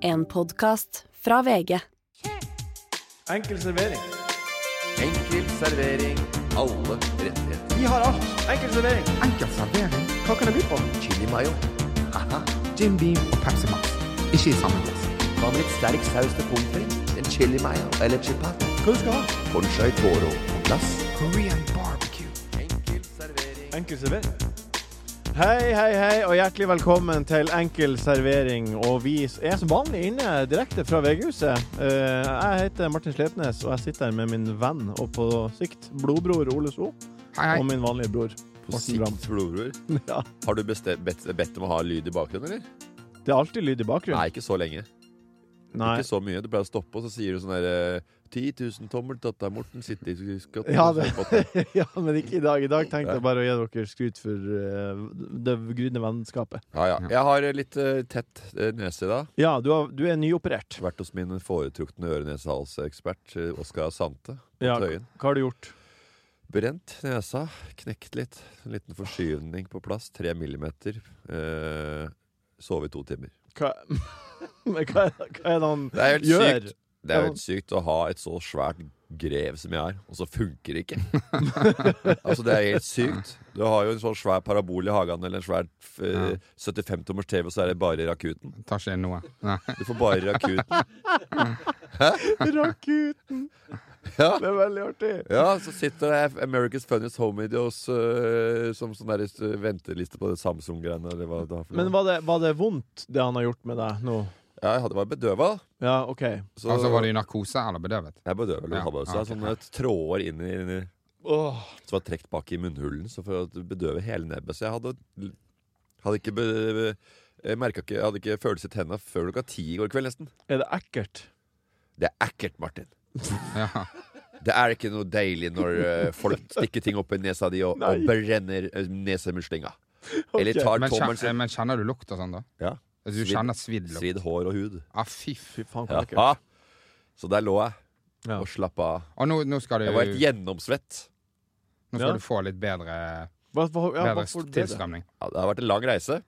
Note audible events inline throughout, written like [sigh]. En podkast fra VG. Enkel servering. Enkel servering. Alle rettigheter. Vi har alt. Enkel servering. Enkel servering. Hva kan jeg by på? Chili mayo. Haha. Jim Beam og Pepsi Max. Ikke i samme glass. Hva med litt sterk saus til pommes frites? En chili mayo eller chipat? Hva du skal ha? Conchai toro på glass. Korean barbecue. Enkel servering. Enkel servering. Hei, hei, hei, og hjertelig velkommen til Enkel servering. Og vi er som vanlig inne direkte fra VG-huset. Eh, Jeg heter Martin Slepnes, og jeg sitter her med min venn og på sikt blodbror Ole So. Hei, Og hei. min vanlige bror. [laughs] På Morten Ramm. sikt, blodbror. Ja, Har du bestemt, bedt, bedt om å ha lyd i bakgrunnen, eller? det er alltid lyd i bakgrunnen. Nei, ikke så lenge. Nei. [laughs] Ikke så mye. Du pleier å stoppe, og så sier du sånn derre 10 000 tommel, datter Morten sitter i skotten Ja, og det- ser på det. [laughs] ja, men ikke i dag. I dag tenkte jeg bare å gi dere skryt for eh, det gryende vennskapet. Ja, ja. Jeg har litt eh, tett eh, nese i dag. Ja, du, har, du er nyoperert. Vært hos min foretrukne øre-nese-hals-ekspert, eh, Oskar Sante. Ja, Tøyen. hva har du gjort? Brent nesa, knekt litt. En liten forskyvning på plass. Tre millimeter. Eh, sove i to timer. Hva, [laughs] men hva, hva er det han Det er helt gjør? sykt. Det er jo helt sykt å ha et så svært grev som jeg har, og så funker det ikke. [laughs] altså, det er helt sykt. Du har jo en sånn svær parabol i hagen, eller en svær eh, 75-tommers TV, og så er det bare rakuten. Tar ikke inn noe. Nei. Du får bare [laughs] rakuten. Rakuten! Ja. Det er veldig artig. Ja, så sitter det America's Funniest Home Videos eh, som sånn der eh, venteliste på det Samsung-greiene, eller hva det er for noe. Men var det, var det vondt, det han har gjort med deg nå? Ja, jeg hadde vært bedøva. Ja, OK. Så Altså, var du i narkose eller bedøvet? Jeg bedøver vel Ja, hodet. ja, Ja, ok. Sånne tråder inn i, inn i Åh, Som var trukket bak i munnhulen så for å bedøve hele nebbet. Så jeg hadde, hadde ikke, be, jeg merket ikke Jeg hadde ikke følelse i tenna før klokka ti i går kveld, nesten. er det ekkelt? Det er ekkelt, Martin. Ja. Det er ikke noe deilig når eh, folk stikker ting opp i nesa di og, og Nei. brenner eh, nesemuslinga. Eller Ok. tar Men, tommelen kjenner, sin. men kjenner du lukt og sånn, da? Ja. Altså, du Svidd. kjenner svidd lukt? Svidd hår og hud. Ja, fy f- Fy faen, så ekkelt. Ja. Så der lå jeg Ja. og slappa av. Og nå, nå skal du Jeg var helt gjennomsvett. Nå Ja. skal du få litt bedre, Hva, hva, ja, bedre hva får du det? tilstrømning. Ja, det har vært en lang reise.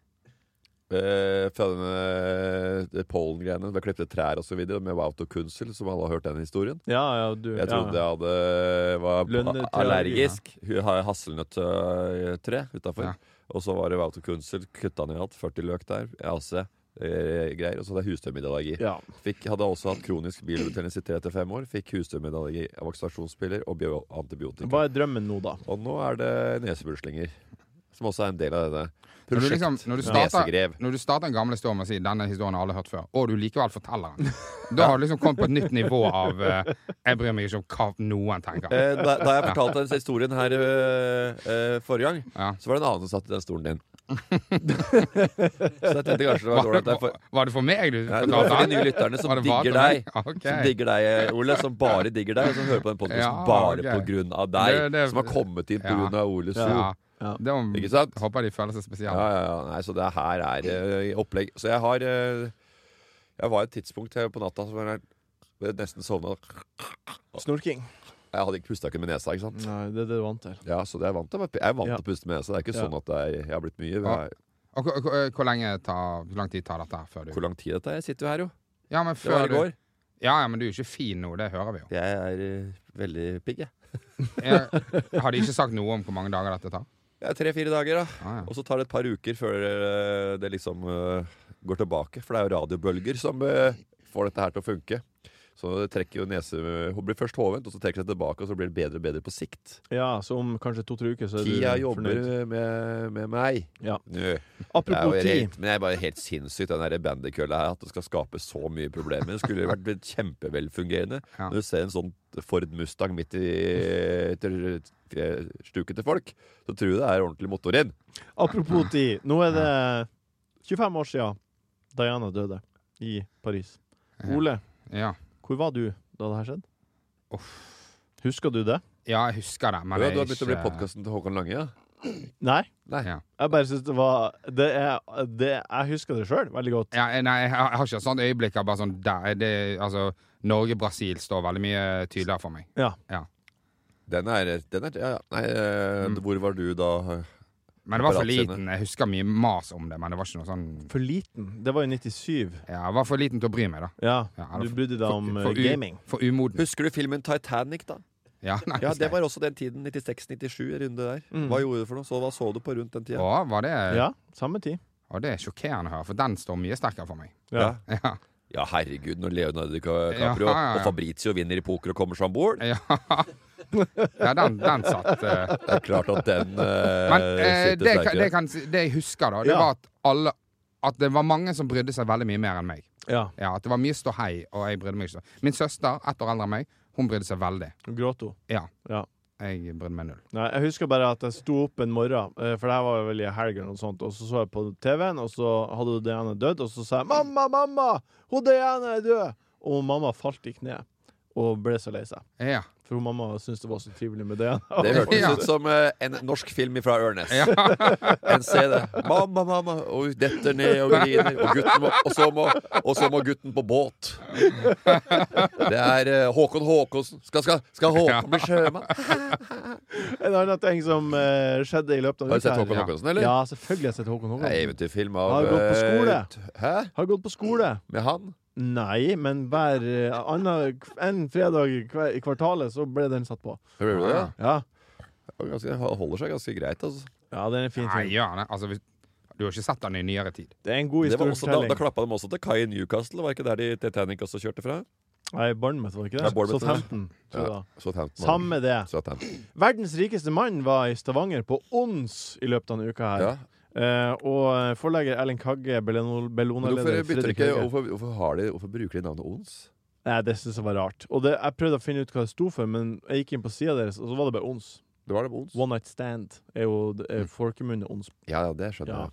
Eh, fra denne det pollen-greiene. Vi klipte trær og så videre med Wauto Kunsel, som alle har hørt den historien. Ja, ja, du Jeg trodde ja. jeg hadde, var Lønnetre- allergisk. Hun har hasselnøtttre utafor. Ja. Og så var det Wauto Kunsel. Kutta ned alt. 40 løk der. AC. eh, Greier, og så hadde jeg hustømmidallergi. Ja. Fikk- Hadde også hatt kronisk bilbetennelse i tre til fem år. Fikk hustømmidallergi, vaksinasjonsspiller og bio- antibiotika. Hva er drømmen nå, da? Og nå er det nesebruslinger, som også er en del av denne. Når du, Prosjekt liksom, når, du Nesegrev. starter, når du starter en gammel historie med å si 'denne historien har alle hørt før', og du likevel forteller [laughs] den, da har du liksom kommet på et nytt nivå av eh, 'jeg bryr meg ikke om hva noen tenker'. Eh, da, da jeg fortalte den historien her eh, eh, forrige gang, Ja. så var det en annen som satt i den stolen din. så jeg tenkte kanskje det var Var, dårlig at jeg for... var, var det for meg du Nei, det var for de fortalte? nye lytterne som Var det digger bare deg. meg? Ok. Som digger deg, eh, Ole. Som bare digger deg, og som hører på den podkasten Ja, bare ok. på grunn av deg. Det- det- som har kommet inn på Ja. grunn av Ole So. Ja. Ja. Det var, Ikke sant? Håper de føler seg Ja, spesielle. ja, Nei, så det her er eh, opplegg. Så jeg har eh, Jeg var et tidspunkt her på natta som jeg jeg nesten sovna. Snorking? Jeg hadde ikke pusta ikke med nesa, ikke sant? Nei, det er det du er vant til. Ja, så det er jeg vant til. Jeg er vant Ja. til å puste med nesa. Det er ikke Ja. sånn at det er, jeg har blitt mye. Ja. Jeg, Og hvor, hvor, hvor, lenge tar, hvor lang tid tar dette her før du hvor lang tid dette er? Jeg sitter jo her, jo. Ja, men Det var før i du går. ja, ja, men du er jo ikke fin nå, det hører vi jo. Jeg er eh, veldig pigg, jeg. Jeg, har de ikke sagt noe om hvor mange dager dette tar? Det er tre-fire dager, da. Ah, ja. Og så tar det et par uker før eh, det liksom eh, går tilbake. For det er jo radiobølger som eh, får dette her til å funke. Så det trekker jo nese Hun blir først hovent, og så trekker det seg tilbake, og så blir det bedre og bedre på sikt. Ja, så om kanskje to-tre uker, så er Tida du jobber fornøyd? med, med meg. Ja. Nå. Det er jo Apropos tid. helt, men det er bare helt sinnssykt, den der bandykølla her. At det skal skape så mye problemer. Det skulle vært kjempevelfungerende. [laughs] Ja. Når du ser en sånn Ford Mustang midt i etter- eh, stuket til folk, så tror du det er ordentlig motorrenn. Apropos [laughs] tid. Nå er det 25 år siden Diana døde i Paris. Ja. Ole, Ja. hvor var du da det her skjedde? Uff. Husker du det? ja, jeg husker det, Ja, men du jeg har begynt å bli ikke- podkasten til Håkon Lange, ja? Nei. Nei. Ja. Jeg bare syns det var det er, det, Jeg husker det sjøl veldig godt. Ja, jeg- nei, jeg har jeg har ikke et sånt øyeblikk av bare sånn der, det, altså, Norge-Brasil står veldig mye tydeligere for meg. Ja. Den er, den er ja, ja. Nei, eh, Mm. hvor var du da? Men det var for Apparatscene. liten. Jeg husker mye mas om det, men det var ikke noe sånn For liten. Det var i 97. Ja, jeg var for liten til å bry meg, da. Ja, Ja, du for- brydde deg om for, for, eh, u- gaming. For umoden. Husker du filmen Titanic, da? Ja, nei, Ja, Det husker jeg. Mm. var også den tiden. 96-97, runde der. Hva gjorde du for noe? Så Hva så du på rundt den tida? Å, var det, Ja, samme tid. å, det er sjokkerende å høre, for den står mye sterkere for meg. [laughs] Ja. Ja. Ja, herregud, når Leonardo DiCaprio Ja, ja, ja. og Fabrizio vinner i poker og kommer seg om bord. Ja, [laughs] ja den, den satt. eh. Det er klart at den [laughs] eh, Men eh, sitter det, kan- sterkere. det, kan, si- det jeg husker, da, det Ja. var at alle At det var mange som brydde seg veldig mye mer enn meg. Ja. Ja, At det var mye ståhei, og jeg brydde meg ikke. så- Min søster, ett år eldre enn meg, hun brydde seg veldig. Hun Gråt hun. Ja. Ja. Jeg brydde meg null. Nei, jeg husker bare at jeg sto opp en morgen, eh, for det her var vel i helgen, og sånt, og så så jeg på TV-en, og så hadde Diana dødd, og så sa jeg 'mamma, mamma, hun Diana er død', og mamma falt i kne og ble så lei seg. Ja. For hun mamma syntes det var så trivelig med Diana. Det hørtes Ja. ut som eh, en norsk film fra Ørnes. [laughs] En ser det. Mamma, mamma, og hun detter ned og griner. Og, gutten må, og, så, må, og så må gutten på båt. Det er eh, Håkon Håkonsen. Skal, skal, skal Ja. Håkon bli sjømann? [laughs] En annen ting som eh, skjedde i løpet av Har du sett Håkon her- Håkonsen, eller? Ja, selvfølgelig har jeg sett Håkon Det er Håkonsen. eventyrfilm av Har du gått på skole? eh, t- Hæ? Har gått på skole. Med han? Nei, men hver eh, annen, en fredag i kve- i kvartalet så ble den satt på. Hører du det? Ja, Det var ganske- Han holder seg ganske greit, altså. ja det er en fin Nei, film. gjør det. Altså, hvis, du har ikke sett den i nyere tid. Det er en god Det var også, da da historiefortelling. klappa de også til kai i Newcastle. Var ikke der de Titanic også kjørte fra? Nei, Bournemouth, var det ikke Ja, det? Bournemouth, Southampton. tror jeg Ja. da. Southampton. Samme det. Southampton. Verdens rikeste mann var i Stavanger på ONS i løpet av denne uka her. Ja. Eh, og forlegger Erling Kagge, Men Bellona-leder hvorfor, bytter Fredrik ikke, Høie hvorfor, hvorfor, har de, hvorfor bruker de navnet Ons? Nei, Det synes jeg var rart. Og det, jeg prøvde å finne ut hva det sto for, men jeg gikk inn på sida deres, og så var det bare ONS. Det var det med Ons. One Night Stand er jo det er folkemunne ONS. Ja, ja, Mm. det skjønner Ja. jeg.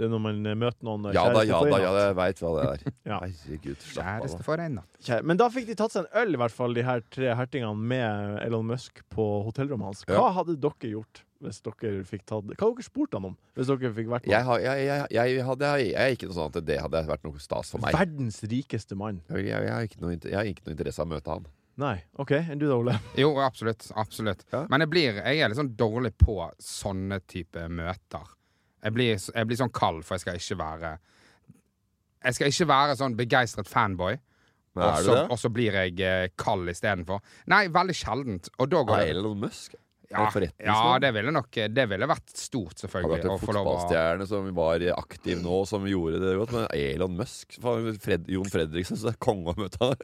Det er når man eh, møter noen eh, Ja da, kjæreste ja på en da, natt. ja, jeg veit hva det [laughs] er. Ja. Herregud, slapp av. Kjæreste da. for en natt. Kjære. Men da fikk de tatt seg en øl, i hvert fall, de her tre hertingene med Elon Musk på hotellrommet hans. Hva Ja. hadde dere gjort hvis dere fikk tatt Hva hadde dere spurt han om hvis dere fikk vært Jeg, med? har- jeg, jeg, jeg, hadde, jeg, jeg er ikke noe sånn at det hadde vært noe stas for meg. Verdens rikeste mann. Jeg, jeg, jeg, har ikke noe, inter- jeg har ikke noe interesse av å møte han. Nei. OK, enn du da, Ole? [laughs] Jo, absolutt. absolutt. Ja. Men jeg, blir, jeg er litt sånn dårlig på sånne type møter. Jeg blir, s- jeg blir sånn kald, for jeg skal ikke være Jeg skal ikke være sånn begeistret fanboy, Men og er du så, det? og så blir jeg eh, kald istedenfor. Nei, veldig sjeldent. Og da Er går det Elon Musk? ja, en forretningsmann? ja, det ville nok Det ville vært stort, Hadde selvfølgelig. vært en å få lov å- fotballstjerne som var aktiv nå, som gjorde det godt. Men Elon Musk faen, Fred, Jon Fredriksen, så det er konge å møte han.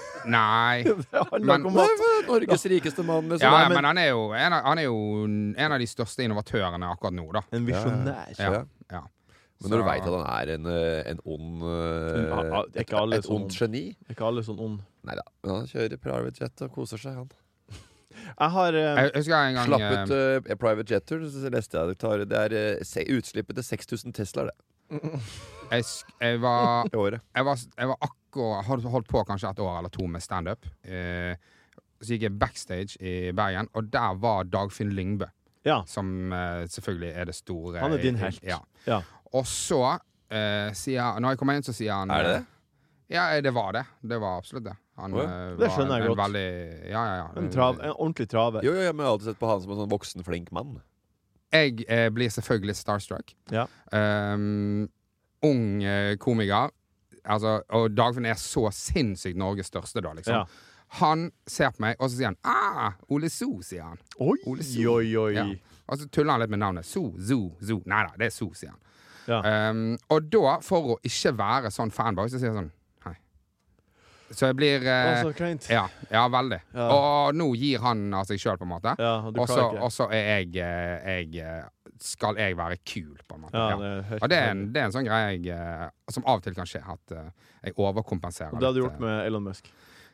[laughs] Nei. Det handler Men- ikke om Nei, at men Norges rikeste mann, liksom. Ja, nei, ja, men- men han er jo en av, han er jo en av de største innovatørene akkurat nå, da. En visjonær. Ja. Ja. ja. Men når du Så- veit at han er en, eh, en ond eh, Ja, ja, det er Et, ikke alle et som- ondt geni Er ikke alle sånn ond? Nei da. Men han kjører private jet og koser seg, han. Jeg har eh, Jeg husker en gang Slapp eh, ut eh, private jetter, så leste jeg det. Tar, det er eh, se, utslippet til 6000 Teslaer, det. eh. jeg, sk- [laughs] jeg var I året. jeg var, jeg var akkurat holdt, holdt på kanskje et år eller to med standup. Eh, så gikk jeg backstage i Bergen, og der var Dagfinn Lyngbø. Ja. Som eh, selvfølgelig er det store Han er din helt. Ja. Ja. Og så eh, sier Når jeg kommer inn, så sier han eh, Er det det? Ja, det var det. Det var absolutt det. Han, Åja. eh, Det var skjønner jeg en godt. Veldig, ja, ja, ja. En, trav, en ordentlig traver. Jo, jo, jeg har alltid sett på han som en sånn voksen, flink mann. Jeg eh, blir selvfølgelig starstruck. Ja. Ehm, ung eh, komiker. Altså, og Dagfinn er så sinnssykt Norges største, da, liksom. Ja. Han ser på meg, og så sier han ah, Ole So, sier han. Oi, Ole oi, Soo. oi. Ja. Og så tuller han litt med navnet. So, Zoo, Zoo. Nei da, det er So, sier han. Ja. Ehm, og da, for å ikke være sånn fanboy, så sier jeg sånn hei. Så jeg blir eh, Å, så kleint. ja, ja, veldig. Ja. Og nå gir han av seg sjøl, på en måte. Ja, og du Og så- klarer ikke. og så er jeg, eh, jeg eh, Skal jeg være kul, på en måte. Ja, Ja. det er helt Og det er, en, det er en sånn greie jeg, eh, som av og til kan skje, at eh, jeg overkompenserer. Og det hadde du litt, gjort eh. med Elon Musk.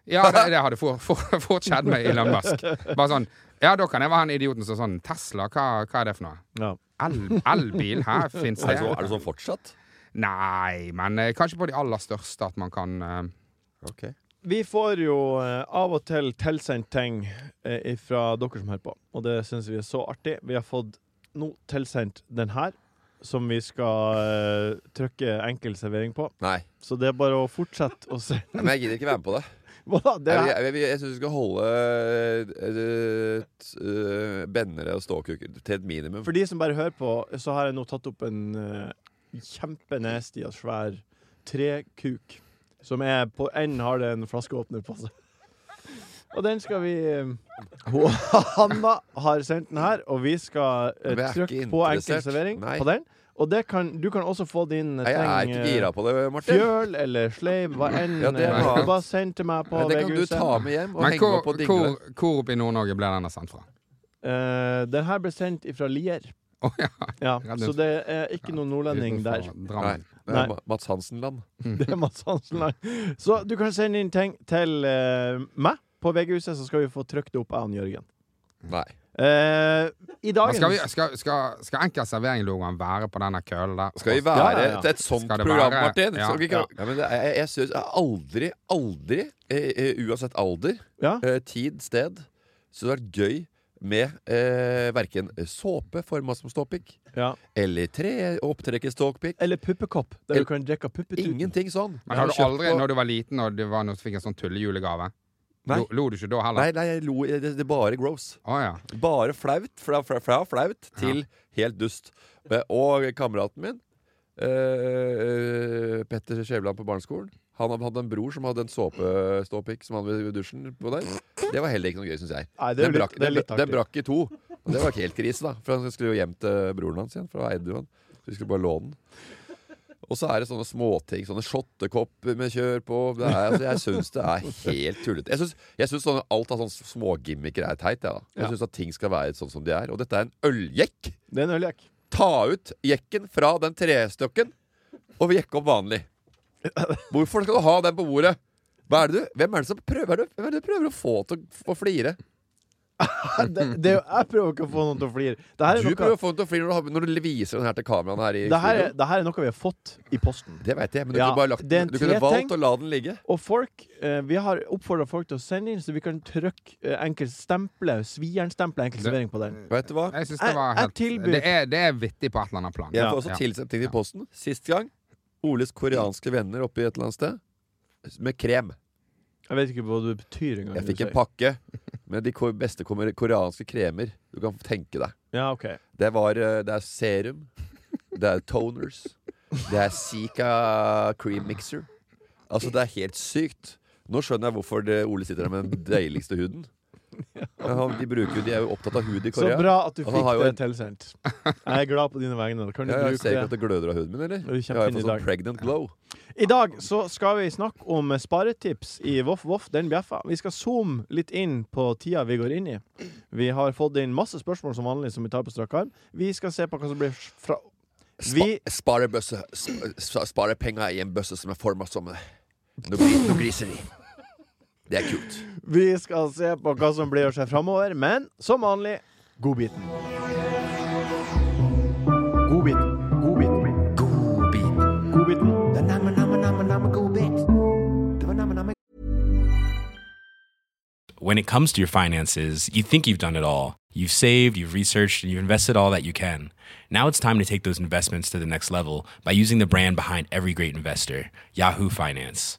Ja, det, det hadde fort for, fort skjedd med Elon Musk. Bare sånn Ja, da kan jeg være han idioten som sånn Tesla, hva, hva er det for noe? Ja. El- Elbil? Her fins Er det? det, så, er det sånn fortsatt? Nei, men eh, kanskje på de aller største at man kan eh, Ok. Vi får jo eh, av og til tilsendt ting eh, fra dere som hører på, og det syns vi er så artig. Vi har fått nå tilsendt den her, som vi skal eh, trykke enkel servering på. Nei. Så det er bare å fortsette å se. [laughs] Men jeg gidder ikke være med på det. Hva da? [laughs] Det Jeg, er, jeg, jeg, jeg syns vi skal holde eh, t- eh, bennere og ståkuker til et minimum. for de som bare hører på, så har jeg nå tatt opp en uh, kjempenasty og svær trekuk. Som er på enden har det en flaskeåpner på seg. Og den skal vi Hun- [laughs] Hanna har sendt den her, og vi skal eh, Men jeg er trykke ikke på interessert. enkeltservering Nei. på den. Og det kan, du kan også få din eh, Nei, jeg er treng, ikke eh, gira på det, Martin. Fjøl eller sleiv, hva enn. Ja, det er eh, noe du annet. Bare send til meg på Nei, det kan du VG-huset. ta med hjem og Men henge hvor, opp og dingle. hvor, hvor oppe i Nord-Norge ble denne sendt fra? Eh, den her ble sendt ifra Lier. Å ja, Ja, Ja, den- så det er ikke noen nordlending der. utenfor Drammen. Nei, Eh, Nei. Ma- Mats Hansen-land. Det [laughs] er Mads Hansenland. sånn Så du kan sende inn ting til eh, meg på VG-huset, så skal vi få trykt det opp, jeg og Jørgen. Nei. Eh, I Men Skal, vi, dagens skal, skal, skal enkel servering-logoen være på denne kølen der? Skal vi Og- være Ja, ja, ja. Et, et sånt Skal det program, være- Martin? Ja, Skal vi ikke, ja. ja. men det, jeg, jeg syns aldri, aldri, eh, eh, uansett alder, Ja. eh, tid, sted, så det hadde vært gøy med eh, verken såpe forma som ståpikk, ja. eller tre opptrekket ståpikk. Eller puppekopp, der du kan drikke puppetuten. Ingenting sånn. Eh, Men har du Jeg har kjøpt aldri, på- når du var liten og du var, når du fikk en sånn tullejulegave Nei. lo, lo du ikke da heller? Nei, nei, jeg lo, det, det er bare gross. Å ja. Bare flaut, fra, fra, fra flaut til helt dust. Eh, Og kameraten min, eh, eh, Petter Skjævland på barneskolen Han hadde en bror som hadde en såpeståpikk som han hadde i dusjen på der. Det var heller ikke noe gøy, syns jeg. Nei, det er Den jo brakk, litt, det er den, litt den artig. brakk i to. Og det var ikke helt krise, da. For han skulle jo hjem til broren hans igjen, for da eide jo han. Så vi skulle bare låne den. Og så er det sånne småting. Sånne shottekopper med kjør på. Det er, altså, jeg syns det er helt tullete. Jeg syns- Jeg syns sånne- alt av sånne smågimmiker er teit. Jeg, da. jeg Ja. syns at ting skal være sånn som de er. Og dette er en øljekk! Det er en øllek. Ta ut jekken fra den trestokken og jekke opp vanlig. Hvorfor skal du ha den på bordet? Hva er det du, hvem er det som prøver, hva er det, hvem er det du prøver å få til å- å flire? Det, [laughs] det er jo, jeg prøver ikke å få noen til å flire. Det her Du er prøver noe, å få den til å flire når du, har- når du viser den her til kameraene her. i det her studio. er, det her er noe vi har fått i posten. Det vet jeg, men du Ja, kunne bare lagt det er en Du kunne treting. valgt å la den ligge. Og folk, eh, vi har oppfordra folk til å sende inn, så vi kan trykke eh, enkelt stemple, svijernstemple enkel servering på den. Vet du hva? Jeg syns Jeg- det var jeg helt tilbyr- det er, det er vittig på et eller annet plan. Jeg Ja. får også tilsendt ting til posten. Sist gang Oles koreanske venner oppe i et eller annet sted. Med krem. Jeg vet ikke hva det betyr engang. det Jeg fikk du en sier. pakke med de ko- beste kommer- koreanske kremer du kan tenke deg. Ja, ok. Det, var, eh, det er serum. Det er toners. Det er Zika cream mixer. Altså, det er helt sykt. Nå skjønner jeg hvorfor det, Ole sitter der med den deiligste huden. Ja, de, bruker, jo- de er jo opptatt av hud i Så Korea. bra at du Og han fikk har jo det en- tilsendt. Jeg er glad på dine vegne. Kan du Ja, jeg bruke ser ikke at det? det gløder av huden min, eller? er Jeg kjempefin har fått i dag. sånn pregnant glow. I dag så skal vi snakke om sparetips i Voff Voff, den bjeffa. Vi skal zoome litt inn på tida vi går inn i. Vi har fått inn masse spørsmål som vanlig som vi tar på strak arm. Vi skal se på hva som blir fra Spa, Vi- sparebøsse- sp- sp- sparepenger i en bøsse som er forma som eh, noe, gri, noe griseri. Det er kult. Vi skal se på hva som blir å skje framover, men som vanlig godbiten. Godbiten. Godbiten. Godbiten. When it comes to your finances, you think you've done it all. You've saved, you've researched, and you've invested all that you can. Now it's time to take those investments to the next level by using the brand behind every great investor, Yahoo Finance.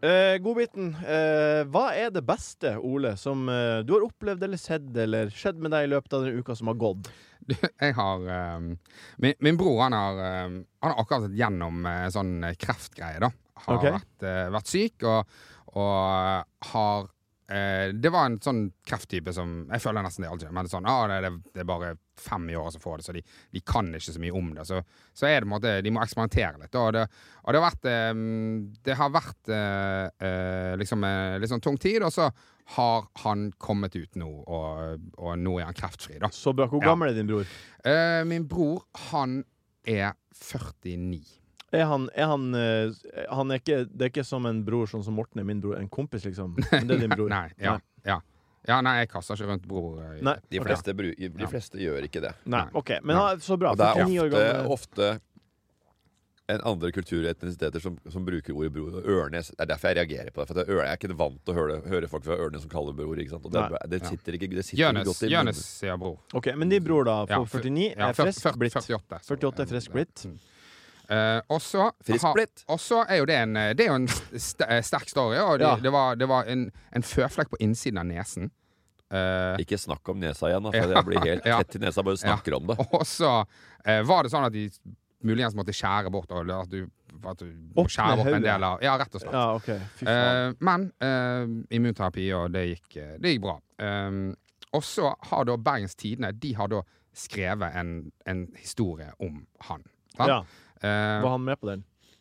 Eh, Godbiten. Eh, hva er det beste, Ole, som eh, du har opplevd eller sett eller skjedd med deg i løpet av den uka som har gått? Jeg har eh, min, min bror han har, eh, han har akkurat vært gjennom eh, en sånn eh, kreftgreie. da Har Ok. vært, eh, vært syk og, og har Eh, det var en sånn krefttype som Jeg føler nesten det alltid. Men det er sånn, ah, det, det, det er bare fem i året som får det, så de, de kan ikke så mye om det. Så, så er det på en måte, de må eksperimentere litt. da. Og det, og det har vært, eh, det har vært eh, eh, liksom, eh, litt sånn tung tid, og så har han kommet ut nå, og, og nå er han kreftfri. da. Så bra. Hvor Ja. gammel er din bror? Eh, min bror, han er 49. Er han, er han, eh, han er ikke, det er ikke som en bror sånn som Morten er min bror. En kompis, liksom. Men det er din bror. Nei, ja, Nei. ja. ja, nei, jeg kaster ikke rundt bror. eh, Nei. De ok. fleste, bru- de fleste gjør ikke det. Nei. Nei. OK. Men han- så bra. Og det 49 år er gammel. ofte, ofte en andre kulturer og etnisiteter som, som bruker ordet bror. Og Ørnes Det er derfor jeg reagerer på det. For at jeg er ikke vant til å høre, høre folk fra Ørnes som kaller det bror. Ikke sant? Og det, Nei. det sitter ikke det sitter ikke Jonis, godt i Jonis sier bror. Ok, Men din bror, da, Ja, på 49, Ja, er frisk 40, blitt. 48. så- 48 er frisk blitt. Mm. Eh, og så Frisk har- blitt. Og så er jo det en eh, Det er jo en st eh, sterk story. Og det, Ja. det var, det var en, en føflekk på innsiden av nesen. Eh, Ikke snakk om nesa igjen, da, for jeg blir helt [laughs] Ja. tett i nesa. Bare snakker om det. og så eh, var det sånn at de muligens måtte skjære bort og, at du, at du må Opp skjære med bort en hodet. del av Ja, rett og slett. Ja, OK. Fy faen. Eh, men eh, immunterapi, og det gikk, eh, det gikk bra. Eh, og så har da Bergens Tidende De har da skrevet en, en historie om han. sant? Ja. Eh, Var han med på den?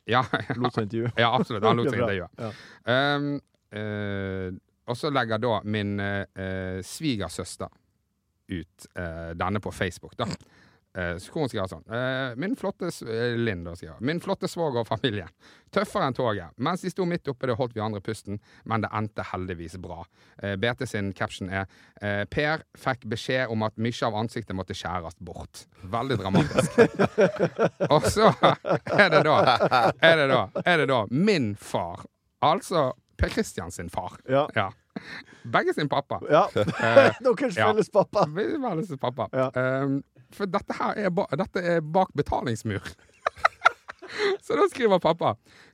ja, Lot seg intervjue? ja, absolutt. [laughs] Han lot seg Bra. intervjue. Ja. Um, eh, og så legger da min eh, eh, svigersøster ut eh, denne på Facebook, da. Eh, så hvor hun skriver sånn eh, Min flotte s- eh, Linn, da, skriver Min flotte svoger og familie. Tøffere enn toget. Mens de sto midt oppe, det holdt vi andre pusten, men det endte heldigvis bra. Eh, BT sin caption er eh, Per fikk beskjed om at mye av ansiktet måtte skjæres bort. Veldig dramatisk. Og så er det da, er det da, er det da min far, altså Per Christian sin far. Ja. Ja. Begge sin [laughs] pappa. ja. Eh, [laughs] Deres ja. felles pappa. vi var liksom pappa. Ja. Ehm, for dette her er, ba dette er bak betalingsmur. [laughs] Så da skriver pappa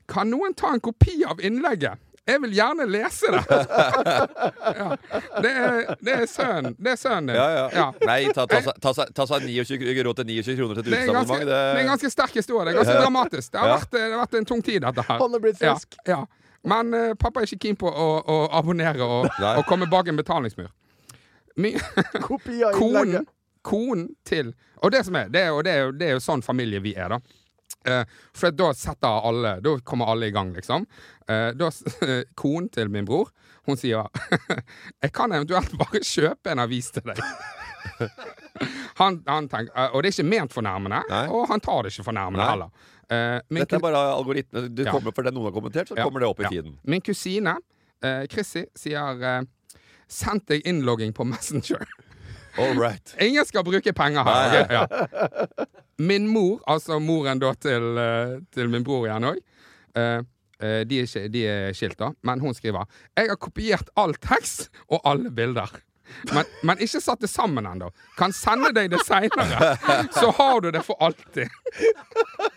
Kan noen ta en kopi av innlegget? Jeg vil gjerne lese [laughs] det! ja. Det er, det er sønnen det er sønnen din. Ja, ja. Nei, ta, ta, seg- ta, seg- ta seg 29, kr- råd til 29 kroner til et Det er, en ganske, utesammenheng. det er en ganske sterk historie. Det er ganske dramatisk. Det har, Ja. vært, det har vært en tung tid, dette her. Han er blitt Ja, frisk. ja. Men eh, pappa er ikke keen på å, å abonnere og, Nei. og komme bak en betalingsmur. Min, Kopi av konen, innlegget. konen til Og det som er, det er, jo, det er, jo, det er jo sånn familie vi er, da. Eh, for da setter alle Da kommer alle i gang, liksom. Eh, da, s- [laughs] konen til min bror, hun sier [laughs] 'Jeg kan eventuelt bare kjøpe en avis til deg'. [laughs] han, han tenker, eh, og det er ikke ment fornærmende, Nei. og han tar det ikke fornærmende Nei. heller. Eh, min Dette kun- er bare algoritme. Du Ja. kommer for det noen har kommentert, så Ja. kommer det opp i Ja. feeden. Min kusine, eh, Chrissy, sier eh, 'Sendt deg innlogging på Messenger'. All right. Ingen skal bruke penger her. Nei. ok? Ja. Min mor, altså moren da til, eh, til min bror igjen òg de, er ikke- de er skilt, da, men hun skriver Jeg har kopiert all tekst og alle bilder. Men, men ikke satt det sammen ennå. Kan sende deg det seinere, så har du det for alltid. [laughs]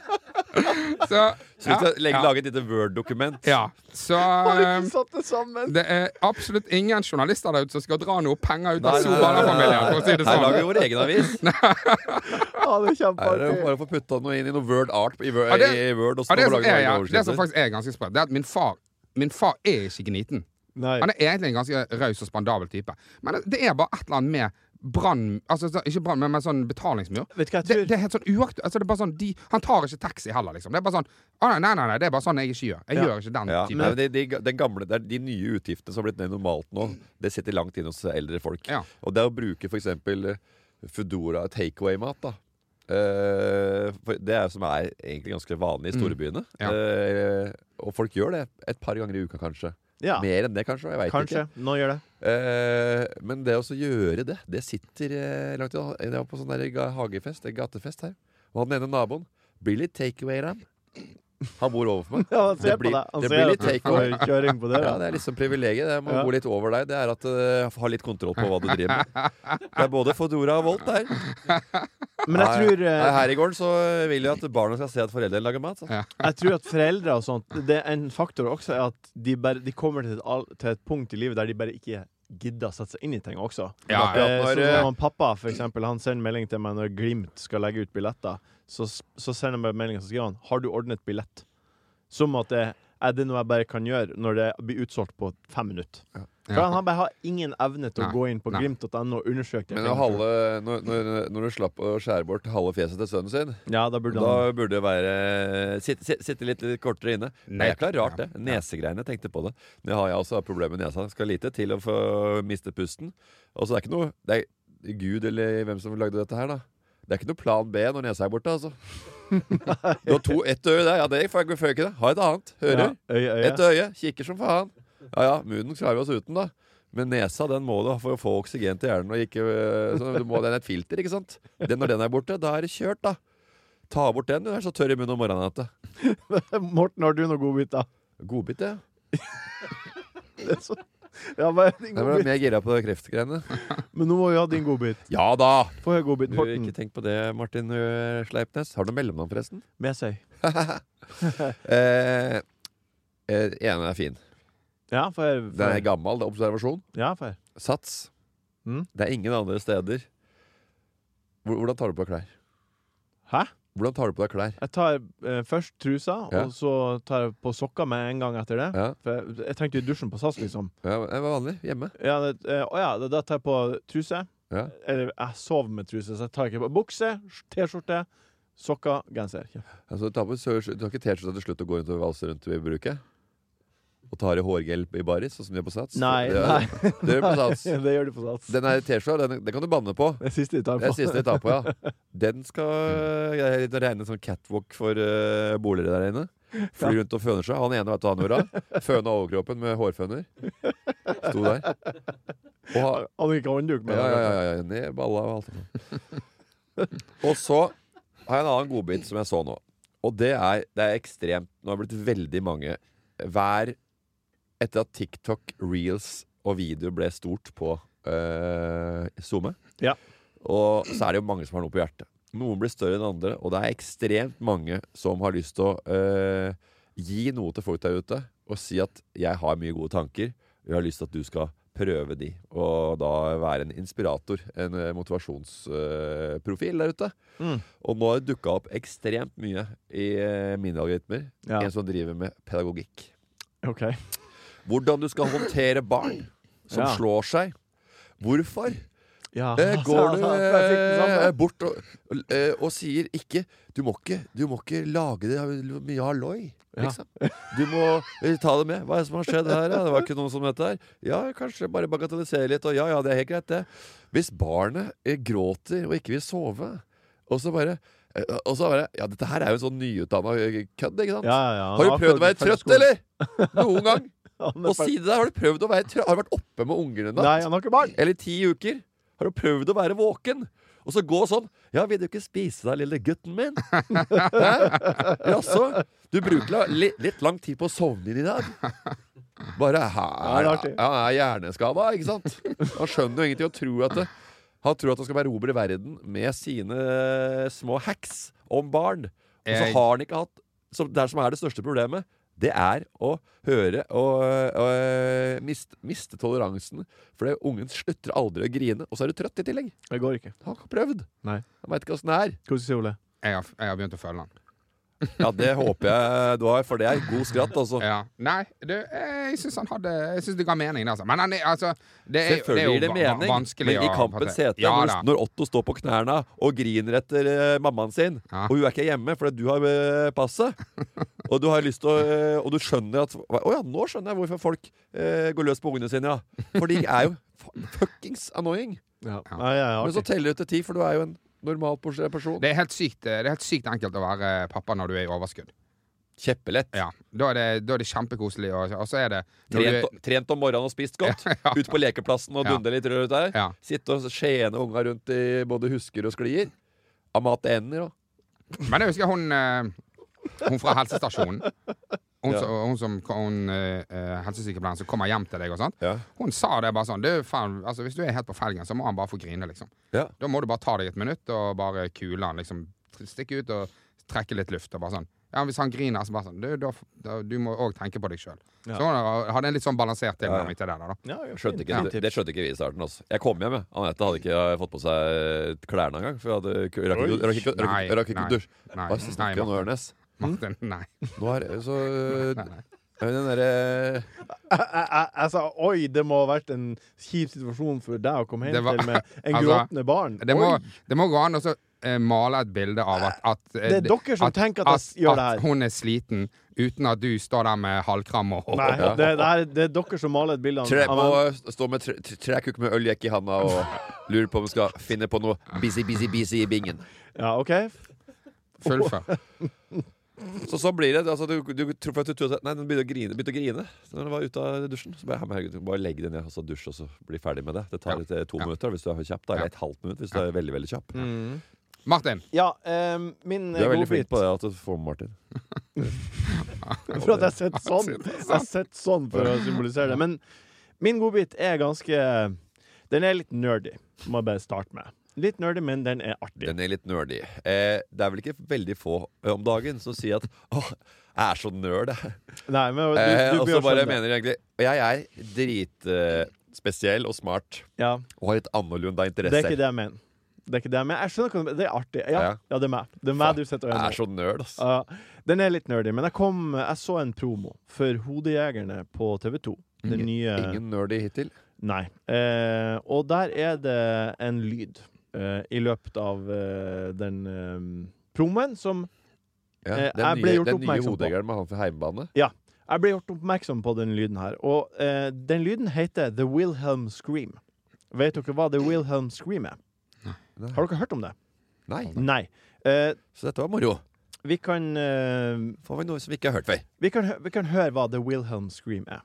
Så, Så vi skal legge, ja, lage et lite Word-dokument. ja. Så Har eh, ikke satt det sammen. det er absolutt ingen journalister der ute som skal dra noe penger ut Nei, nei, av nei, nei, Solvalla-familien, for å si det Her lager vi sånn. vår egen avis. Ja, det er Her er det kjempeartig. bare å få putta noe inn i noe Word art i Word, Ja, det- i Word og så Ja, det, få som lage er, noen ja, overskrifter. det som faktisk er ganske sprøtt, det er at min far Min far er ikke gniten. Nei. Han er egentlig en ganske raus og spandabel type. Men det- det er bare et eller annet med brann... Altså, så- ikke brann, men med sånn betalingsmur. Vet du hva jeg Det, tror? det er helt sånn uaktuelt. Altså, det er bare sånn, de, han tar ikke taxi heller, liksom. Det er bare sånn «Å, nei, nei, nei, nei, det er bare sånn jeg ikke gjør. Jeg Ja. gjør ikke den Ja, typen. nei, men de, de, den gamle, det er de nye utgiftene som har blitt mer normalt nå, det sitter langt inn hos eldre folk. Ja. Og det å bruke for eksempel eh, Foodora takeaway-mat, da. Eh, for det er jo som er egentlig ganske vanlig i storbyene. Mm. Ja. Eh, og folk gjør det et par ganger i uka, kanskje. Ja, Mer enn det, kanskje. Jeg vet kanskje. ikke. Nå gjør det. Eh, men det å så gjøre det, det sitter eh, langt inne. Jeg var på sånn der ga- hagefest, en gatefest her. Og han ene naboen blir litt takeaway ram. Han bor overfor meg. Ja, han ser Det blir- på deg. Han det ser blir at litt du takeaway. får Kjøring på [laughs] det, Ja, da. det er liksom privilegiet. Det med å Ja. bo litt over deg. Det er at uh, ha litt kontroll på hva du driver med. Det er både Fodora og Volt der. Men jeg tror, Nei, eh, Her i gården så vil jeg at barna skal se at foreldrene lager mat. Så. jeg tror at foreldre og sånt Det er En faktor også er at de, bare, de kommer til et, al- til et punkt i livet der de bare ikke gidder å sette seg inn i ting også. Ja, Eh, ja. sånn Når, eh, som han pappa for eksempel, han sender melding til meg når Glimt skal legge ut billetter. Så, s- så sender han meg melding og så skriver han 'Har du ordnet billett?' Som at det er det noe jeg bare kan gjøre når det blir utsolgt på fem minutter. For han har bare har ingen evne til å Nei. gå inn på Nei. glimt.no og undersøke det. Men når, halve, når, når, når du slapp å skjære bort halve fjeset til sønnen sin Ja, da burde da han burde det være Sitte, sitte- sitte litt, litt kortere inne. Det er Ned- jækla rart, ja. det. Nesegreiene. jeg Tenkte på det. Det har jeg også har problemer med nesa. Skal lite til å få miste pusten. Og så er det ikke noe Det er Gud eller hvem som lagde dette her, da. Det er ikke noe plan B når nesa er [laughs] borte, altså. Du har to, ett øre der. Ja, det får jeg får jeg ikke det. Ha et annet. Hører. Ja, øye, øye. Ett øye, kikker som faen. Ja ja, munnen klarer vi oss uten, da. Men nesa den må du ha for å få oksygen til hjernen. Og ikke, øh, så du må, den er et filter, ikke sant? Den, når den er borte, da er det kjørt, da. Ta bort den, du er så tørr i munnen om morgenen at det- [laughs] Morten, har du noe godbit, da? [laughs] Godbit, ja. Det er så- Ja, bare din Jeg ble godbit. mer gira på de kreftgreiene. Men nå må vi ha din godbit. Ja da! Få høre godbiten, Du, ikke Morten. tenk på det, Martin øh, Sleipnes. Har du noe mellomnavn, forresten? [laughs] Mesøy. Eh, eh, ene er fin. Ja, få høre. Den er gammel, det er observasjon. Ja, få høre. Sats. Mm. Det er ingen andre steder. Hvor- Hvordan tar du på deg klær? Hæ? Hvordan tar du på deg klær? Jeg tar eh, først trusa, Ja. og så tar jeg på sokker med en gang etter det. Ja, For jeg, jeg tenkte i dusjen på SAS, liksom. ja det var vanlig. Hjemme. Ja, det, eh, å ja, da- da tar jeg på truse. Ja. Eller jeg sover med truse, så jeg tar ikke på bukse, T-skjorte, sokker, genser. Ja. [laughs] Altså, du, tar på, så, du har ikke T-skjorta til slutt og går rundt og valser rundt i bruket? Og tar i hårgel i baris, sånn som du gjør på Sats? Nei, det, nei. Det gjør du på [laughs] Sats. det gjør du på SAS. Det Den er T-skjorta, den, den kan du banne på. er siste vi tar Det på. er siste jeg tar på, ja. [laughs] Den skal eh, jeg er litt å regne som catwalk for uh, boligere der inne. Fly rundt og føner seg. Han ene vet du hva han gjorde. Føna overkroppen med hårføner. Sto der. Og ha, Han gikk håndduk med Ja, det. ja, ja, ja. Ned balla og alt det der. Og så har jeg en annen godbit som jeg så nå. Og det er, det er ekstremt Nå har det blitt veldig mange hver Etter at TikTok, reels og video ble stort på eh, SoMe, Ja. og så er det jo mange som har noe på hjertet. Noen blir større enn andre, og det er ekstremt mange som har lyst til å eh, gi noe til folk der ute og si at 'jeg har mye gode tanker', og 'jeg har lyst til at du skal prøve de', og da være en inspirator, en eh, motivasjonsprofil der ute. Mm. Og nå har det dukka opp ekstremt mye i eh, mine algoritmer, Ja. en som driver med pedagogikk. Ok. Hvordan du skal håndtere barn som Ja. slår seg. Hvorfor? Ja. [laughs] Eh, går du Jeg fikk den eh, samme. bort og, eh, og sier ikke du må ikke, du må ikke lage det av mye halloi. Liksom. Du må eh, ta det med. Hva er det som har skjedd her? Ja? Det var ikke noen som dette her. Ja, kanskje bare bagatellisere litt. Og ja, ja, det er helt greit, det. Hvis barnet eh, gråter og ikke vil sove, og så bare eh, og så bare, Ja, dette her er jo en sånn nyutdanna kødd, ikke sant? Ja, ja, ja. Har du Han prøvd å være ferdig trøtt, skolen. eller? [laughs] Noen gang? Han er Og si ferdig- det der. Har du prøvd å være trøtt? Har du vært oppe med ungene i natt? Nei, han har ikke barn. eller ti uker har du prøvd å være våken. Og så gå sånn. Ja, vil du ikke spise deg, lille gutten min? [laughs] Hæ? Jaså? Du bruker la, li, litt lang tid på å sovne inn i dag. Bare her Ja, Han det er artig. er hjerneskada, ikke sant? Han skjønner jo ingenting og tror at det, han tror at han skal erobre verden med sine eh, små hacks om barn. Og så Jeg- har han ikke hatt så Det som er det største problemet, det er å høre og, og miste, miste toleransen. For det, ungen slutter aldri å grine, og så er du trøtt i tillegg. Det går ikke. Han har ikke prøvd. Nei. Han veit ikke åssen det er. Hva skal du si, Ole? Jeg har, jeg har begynt å følge den. Ja, det håper jeg du har, for det er god skratt, altså. Ja. Nei, du, jeg syns han hadde Jeg synes det ga mening, det, altså. Men han, er- altså det er, det er Selvfølgelig jo gir det va- va- mening, vanskelig men i å- kampens hete, Ja når, da. når Otto står på knærne og griner etter eh, mammaen sin, Ja. og hun er ikke hjemme fordi du har eh, [laughs] passet, og du har lyst til å eh, Og du skjønner at Å ja, nå skjønner jeg hvorfor folk eh, går løs på ungene sine, ja. For de er jo fa- fuckings annoying. Ja. Ja, ja, ja, Men så artig. teller du til ti, for du er jo en normal pors- person. Det er, helt sykt, eh, det er helt sykt enkelt å være pappa når du er i overskudd. Kjempelett. Ja, Da er det, da er det kjempekoselig. Og, og så er det når du er- Trent, trent om morgenen og spist godt. [laughs] Ut på lekeplassen og Ja. dunde litt rundt der. Ja. Sitte og skjene unga rundt i både husker og sklier. Amate ender og Men jeg husker hun eh, Hun fra helsestasjonen. Hun, Ja. som- hun som hun, eh, eh, helsesykepleieren som kommer hjem til deg og sånt. Ja. Hun sa det bare sånn du, faen, altså, Hvis du er helt på felgen, så må han bare få grine, liksom. Ja. Da må du bare ta deg et minutt og bare kule han, liksom. Stikke ut og trekke litt luft. Og bare sånn ja, Hvis han griner, så bare sånn Du, da, da, du må òg tenke på deg sjøl. Ja. Så hun hadde en litt sånn balansert tilnærming til det der, da. Ja, ja, Skjønte ikke, fint. det, det skjønte ikke vi i starten. Altså. Jeg kom hjem, jeg. Anette hadde Mm. ikke eh, fått på seg eh, klærne engang. For jeg hadde, rakk ikke- Oi. rakk ikke rakk Nei, ikke- rakk ikke nei, dusj. nei, Hva er det som [laughs] nei, Hm? snakker om nå, Ørnes? [laughs] Martin, nei. Nå er det så øh, Nei, nei. Men Den derre Jeg, jeg, jeg, jeg sa oi, det må ha vært en kjip situasjon for deg å komme Det hjem [laughs] var- til med en altså, gråtende barn. Det må, Oi, det må gå an å så, eh, male et bilde av at, at eh, Det er dere som tenker at jeg s- gjør det her. At hun er sliten, uten at du står der med halvkram og nei, det, det, er, det er dere som maler et bilde av- tre, av må en- stå med tre- tre- trekuk med øljekk i handa [laughs] og lurer på om hun skal finne på noe busy, busy, busy i bingen. Ja, OK? fullfør. [laughs] Så sånn blir det. Altså, du, du tror for at du tror at Nei, den begynte å grine. Begynte å grine Så når den var ute av dusjen. Så bare, herregud, bare legg det ned og så dusj, og så bli ferdig med det. Det tar Ja. litt, eh, to Ja. minutter hvis du er kjapp. Da, Ja. Mm. eller et halvt minutt hvis du er veldig veldig kjapp. Martin, Ja, em, min Du er veldig godbit flink på det at du får med Martin. [laughs] For at jeg [laughs] sitter sånn. Jeg sitter sånn for å symbolisere det. Men min godbit er ganske Den er litt nerdy, må jeg bare starte med. Litt nerdy, men den er artig. Den er litt nerdy. Eh, det er vel ikke veldig få eh, om dagen som sier at [laughs] åh, jeg er så nerd, jeg. Nei, men du, Eh, du og blir så å bare skjønne det. mener jeg egentlig Og jeg er dritspesiell spesiell og smart Ja, og har litt annerledes det er interesser. ikke det jeg mener. Det er ikke det jeg mener. Jeg skjønner hva du mener. Det er artig. Ja, Ja. ja det er meg. Det er meg du sitter og Jeg gjør nå. er så nerd, altså. ass. Ja, den er litt nerdy, men jeg, kom, jeg så en promo for Hodejegerne på TV2. Den nye Ingen nerdy hittil. Nei. Eh, og der er det en lyd eh, i løpet av eh, den eh, promoen som Ja, Eh, den jeg ble nye, gjort den nye oppmerksom på- hodegeren med han fra heimebane. Jeg ble gjort oppmerksom på den lyden her, og eh, den lyden heter The Wilhelm Scream. Vet dere hva The Wilhelm Scream er? Nei. Har dere hørt om det? Nei, Nei. Eh, Så dette var moro. vi, kan, eh, Får vi noe som vi ikke har hørt før. vi, kan hø vi kan høre hva The Wilhelm Scream er.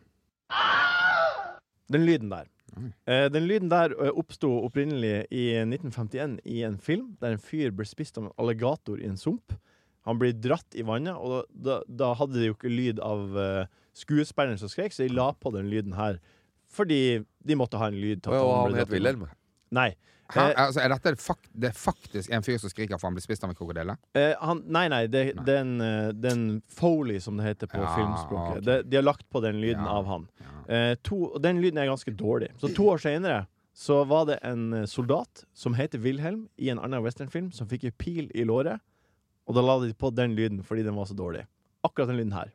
Den lyden der. Mm. Eh, den lyden der eh, oppsto opprinnelig i 1951 i en film der en fyr ble spist av en alligator i en sump. Han blir dratt i vannet, og da, da, da hadde de jo ikke lyd av eh, skuespilleren som skrek, så de la på den lyden her. Fordi de måtte ha en lyd. til at Og ble han dratt i het vannet. Wilhelm. Nei. hæ, Eh, altså, er dette fak det er faktisk en fyr som skriker for han blir spist av en krokodille? Eh, han, nei, nei, det, det er en, eh, det er en foley, som det heter på Ja, filmspråket. ok. De, de har lagt på den lyden Ja, av han. ja. Eh, to, og den lyden er ganske dårlig. Så to år senere så var det en eh, soldat som heter Wilhelm, i en annen westernfilm, som fikk en pil i låret. Og da la de på den lyden fordi den var så dårlig. Akkurat den lyden her.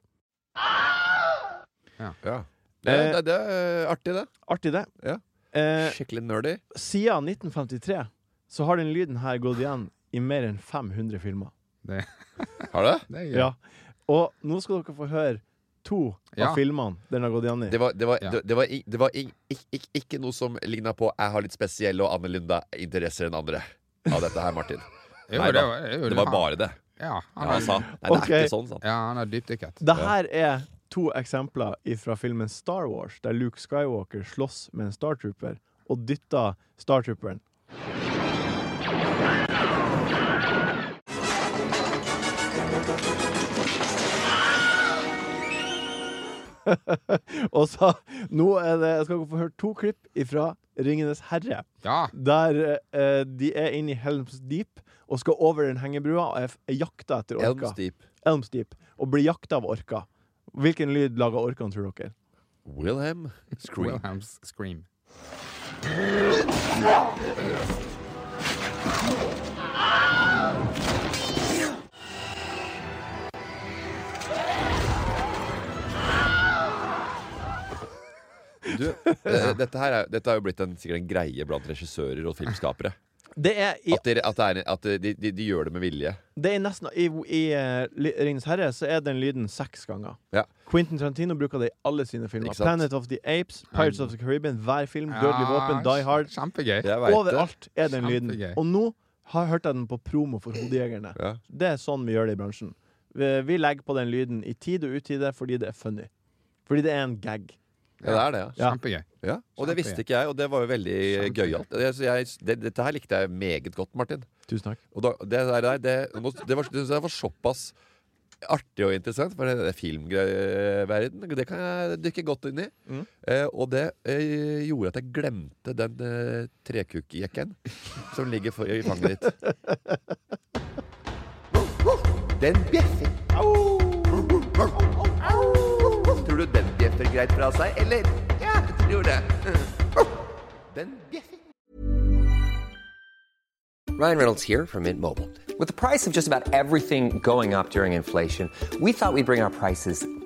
Ja. Det, Eh, det, det er artig, det. Artig, det. Ja. Eh, Skikkelig nerdy. siden 1953 så har den lyden her gått igjen i mer enn 500 filmer. Har du det? Det er gøy. Ja. Og nå skal dere få høre to Ja. av filmene den har gått igjen i. Det var, det var, Ja. det, det var, i- det var i- ikk- ikk- ikke noe som ligna på 'jeg har litt spesielle og annerledes interesser enn andre' av dette her, Martin. [laughs] Jo, Nei det, da. var- det, var- Det var bare det. Ja, Ja, han han har, sa Nei, det er Ok. ikke sånn, sa han. ja, han har dypdykket. Det her er to eksempler fra filmen Star Wars, der Luke Skywalker slåss med en Star Trooper og dytter Star Trooperen. [laughs] og så Nå er det, jeg skal få høre to klipp fra Ringenes herre. Ja, Der eh, de er inne i Helms Deep og skal over den hengebrua og er f- er jakta etter orka. Elms Deep. Elms Deep og blir jakta av orka. Hvilken lyd lager orkaen, tror dere? Wilhelm Scream. Wilhelms Scream. Du, eh, dette, her er, dette er jo blitt en, sikkert en greie blant regissører og filmskapere. Det er i, At, dere- at, det er, en- at de, de, de gjør det med vilje. det er nesten I, i eh, Li- Ringenes herre så er den lyden seks ganger. Ja. Quentin Tarantino bruker det i alle sine filmer. Ikke sant? Planet of the Apes, Pirates of the Caribbean, hver film, Dødelig våpen, Ja, Die Hard. Kjempegøy. Jeg vet det. Overalt er den lyden. Kjempegøy. Og nå har hørte jeg den på promo for Hodejegerne. Ja. Det er sånn vi gjør det i bransjen. Vi, vi legger på den lyden i tid og utide fordi det er funny. Fordi det er en gag. Ja, det er det, ja. Ja. Kjempegøy. ja. Og det visste ikke jeg, og det var jo veldig gøyalt. Det- så jeg- det- Dette her likte jeg meget godt, Martin. Tusen takk. Og da, det, der, det, det, nå- det, var, det synes jeg var såpass artig og interessant, for det, det er filmverden. Det kan jeg dykke godt inn i. Eh, og det eh, gjorde at jeg glemte den eh, trekukjekken som ligger for, i fanget ditt. Den bjeffer. Tror du den bjeffer greit fra seg, eller? Ja, jeg tror det. Den bjeffer. Ryan Reynolds here from Mint Mobile. With the price of just about everything going up during inflation, we thought we'd bring our prices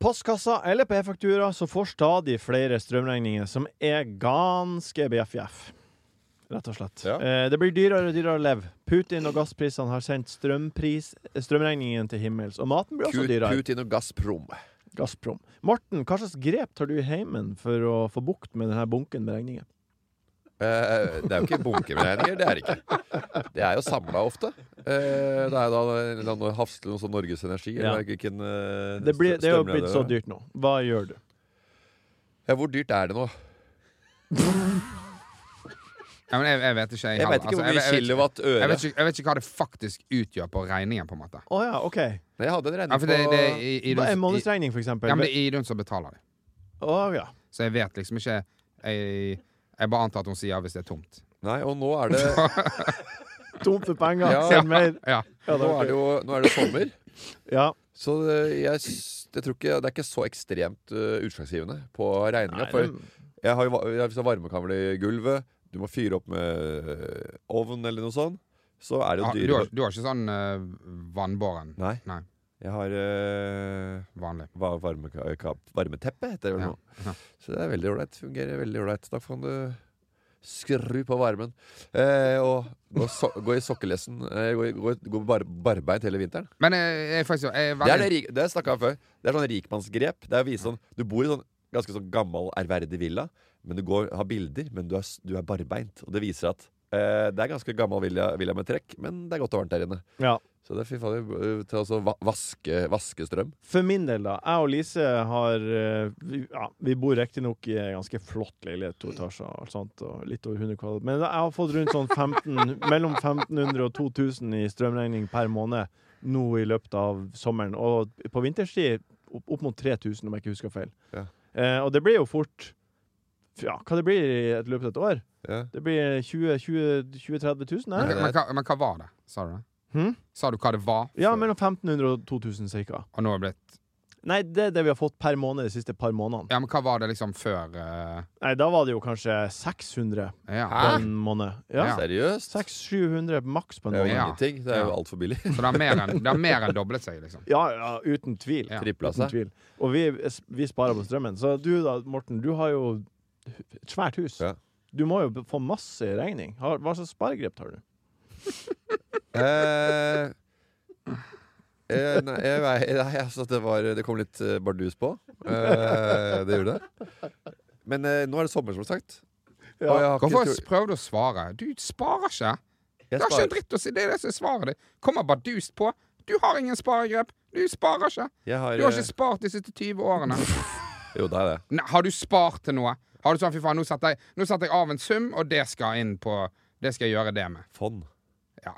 postkassa eller på e-faktura så får stadig flere strømregninger som er ganske bjeff-bjeff. Rett og slett. Ja. Eh, det blir dyrere og dyrere å leve. Putin og gassprisene har sendt strømpris, strømregningen til himmels. Og maten blir også Pu- dyrere. Putin og Gazprom. Gazprom. Morten, hva slags grep tar du i heimen for å få bukt med denne bunken med regninger? Eh, det er jo ikke bunkeberegninger, det er det ikke. Det er jo samla ofte. Eh, det er da en eller annen Hafsle, noe sånn Norges Energi, Ja. eller hvilken eh, Det, blir, det er jo strømleder blitt så dyrt nå. Hva gjør du? Ja, hvor dyrt er det nå? Ja, men jeg, jeg vet ikke, jeg, Jeg heller. vet ikke Altså, hvor mye jeg, jeg, vet, kilowatt øre. jeg, vet ikke, jeg vet ikke hva det faktisk utgjør på regningen, på en måte. Å ja, OK. Men jeg hadde en regning Ja, for det, det, er i, i, Hva er Idun- i, månedsregning, for eksempel? ja, men det er Idun som betaler det. Å, ja. Så jeg vet liksom ikke Jeg, jeg bare antar at hun sier hvis det er tomt. på Nei, og nå er det, [laughs] Tomt for penger. Ja. Send mer. Ja. Ja, nå er det jo nå er det sommer. ja. Så det- jeg, s- jeg tror ikke, det er ikke så ekstremt eh, utslagsgivende på regninga. Nei, For det- jeg har jo va- jeg har så varmekabel i gulvet, du må fyre opp med eh, ovn eller noe sånt. Så er det Ah, jo Du, har, dyrere. du har ikke sånn eh, vannbåren Nei, Nei. jeg har eh, vanlig? va- varmeka- ka- varmeteppe, heter det vel Ja. nå. Ja. Så det er veldig ålreit. Fungerer veldig ålreit. Da kan du skru på varmen. Eh, og gå, so gå i sokkelesten. Eh, gå, i- gå, i- gå bar barbeint hele vinteren. Men jeg, jeg, er faktisk, jeg, er Det veldig, er det, rik- det snakka jeg om før. Det er sånn rikmannsgrep. Det er å vise sånn Du bor i sånn ganske sånn gammel, ærverdig villa, men du går, har bilder, men du er, s- du er barbeint. Og det viser at eh, det er ganske gammel villa, villa med trekk, men det er godt og varmt der inne. ja. Så det er fy fader eh, til altså va vaske, vaskestrøm. For min del, da. Jeg og Lise har eh, Vi, ja, vi bor riktignok i en ganske flott leilighet, to etasjer og alt sånt, og litt over 100 kvadrat. Men jeg har fått rundt sånn 15, mellom 1500 og 2000 i strømregning per måned nå i løpet av sommeren. Og på vinterstid opp, opp mot 3000, om jeg ikke husker feil. Ja. Eh, og det blir jo fort Ja, hva det blir i et løpet av et år? Ja. Det blir 20 20 20-30 000, men, er det? men, hva- men hva var det? Sa du det? Hm? Sa du hva det var? Ja, før? mellom 1500 og 2000 cirka. Og nå er det blitt Nei, det er det vi har fått per måned de siste par månedene. Ja, men hva var det liksom før eh, Nei, da var det jo kanskje 600 ja. på en måned. Ja. Ah. Ja. Seriøst? 600-700 maks på en Det er jo måned. Ja. ingenting. Det er jo Ja. altfor billig. [laughs] Så det har mer enn- det har mer enn doblet seg, liksom. Ja, ja, uten tvil. Ja. Altså. Tripla Uten seg. tvil. Og vi, vi sparer på strømmen. Så du da, Morten, du har jo et svært hus. Ja. Du må jo få masse regning. Har- Hva slags sparegrep tar du? [laughs] eh, eh, nei, jeg, vei- nei, altså det, var, det kom litt eh, bardus på. Eh, det gjorde det. Men eh, nå er det sommer, som sagt. Ja. Og jeg har ikke Hvorfor tro- prøvde du å svare? Du sparer ikke! jeg Det har ikke en sparer, dritt å si! Det er det som er svaret ditt. Kommer bardust på. Du har ingen sparegrep. Du sparer ikke. jeg har, Du har eh, ikke spart de siste 20 årene. Jo, det er det. Nei, har du spart til noe? Har du sånn, fy faen, nå setter jeg, nå setter jeg av en sum, og det skal inn på Det skal jeg gjøre det med. Fond. Ja.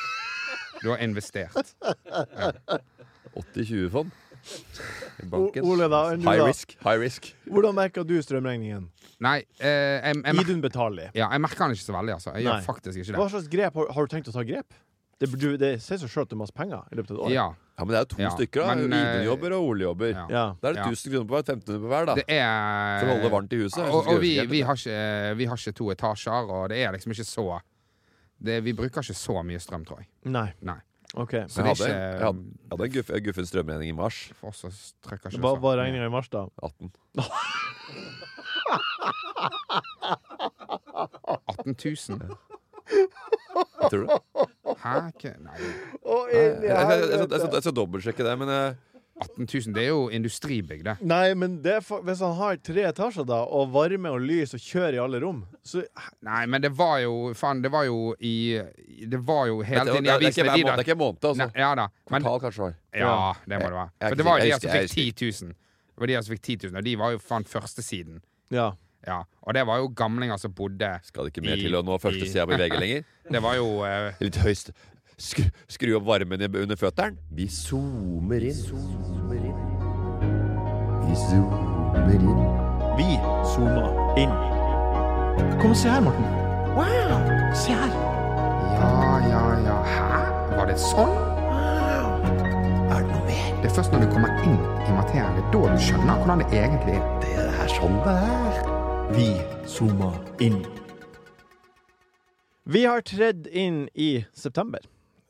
[laughs] Du har investert. 80-20-fond. I banken. O- Ole, da, enn du High da? risk. High risk. Hvordan merker du strømregningen? Nei, eh, jeg, jeg, mer Idun betaler. ja, jeg merker den ikke så veldig, altså. Jeg Nei. gjør faktisk ikke Hva det. slags grep har, har du tenkt å ta grep? Det, du, det sier seg sjøl at du har masse penger i løpet av et år. Ja, Ja, men det er jo to Ja, stykker, da. men, eh, Idun-jobber og Ole-jobber. ja. Ja. Da er det Ja. 1000 kroner på hver. 1500 på hver, da. Det er For å holde det varmt i huset. Jeg Og, synes og vi, det er vi, har ikke, eh, vi har ikke to etasjer, og det er liksom ikke så det, Vi bruker ikke så mye strøm, tror jeg. Nei. Nei. OK. Så Jeg det hadde, er jeg hadde, ikke eh, jeg hadde en guff- guffen strømregning i mars. For oss så trykker ikke Hva så- var regninga i mars, da? 18. 18 000? Jeg tror det. Hæ? Ikke- Nei. Å, Jeg, jeg, jeg, jeg, skal- jeg skal dobbeltsjekke det, men eh, 18 000, det er jo industribygg, det. Nei, men det er for, hvis han har tre etasjer da, og varme og lys og kjør i alle rom, så Nei, men det var jo Faen, det var jo i Det var jo hele Det, det, tiden i det, er ikke avisen hver måned, det er ikke en måned, altså. Nei, ja da. Men, Kvartal kanskje var. ja, det må det Jeg- være. jeg For det var jo husker- de altså som jeg fikk 10 000. Det var de altså som fikk 10 000, og de var jo faen førstesiden. Ja. Ja, og det var jo gamlinger som bodde Skal det ikke mer i- til å nå i- førstesida på VG [laughs] lenger? Det var jo eh, Litt høyst skru, skru opp varmen i- under føtteren. Vi zoomer inn. Zoomer inn. Vi zoomer inn. Vi zooma inn. Kom og se her, Morten. Wow! Se her. Ja, ja, ja. Hæ? Var det sånn? Er det noe mer? Det er først når du kommer inn i materien, det er da du skjønner hvordan det egentlig er. Det er sånn det er. Vi zooma inn. Vi har tredd inn i september,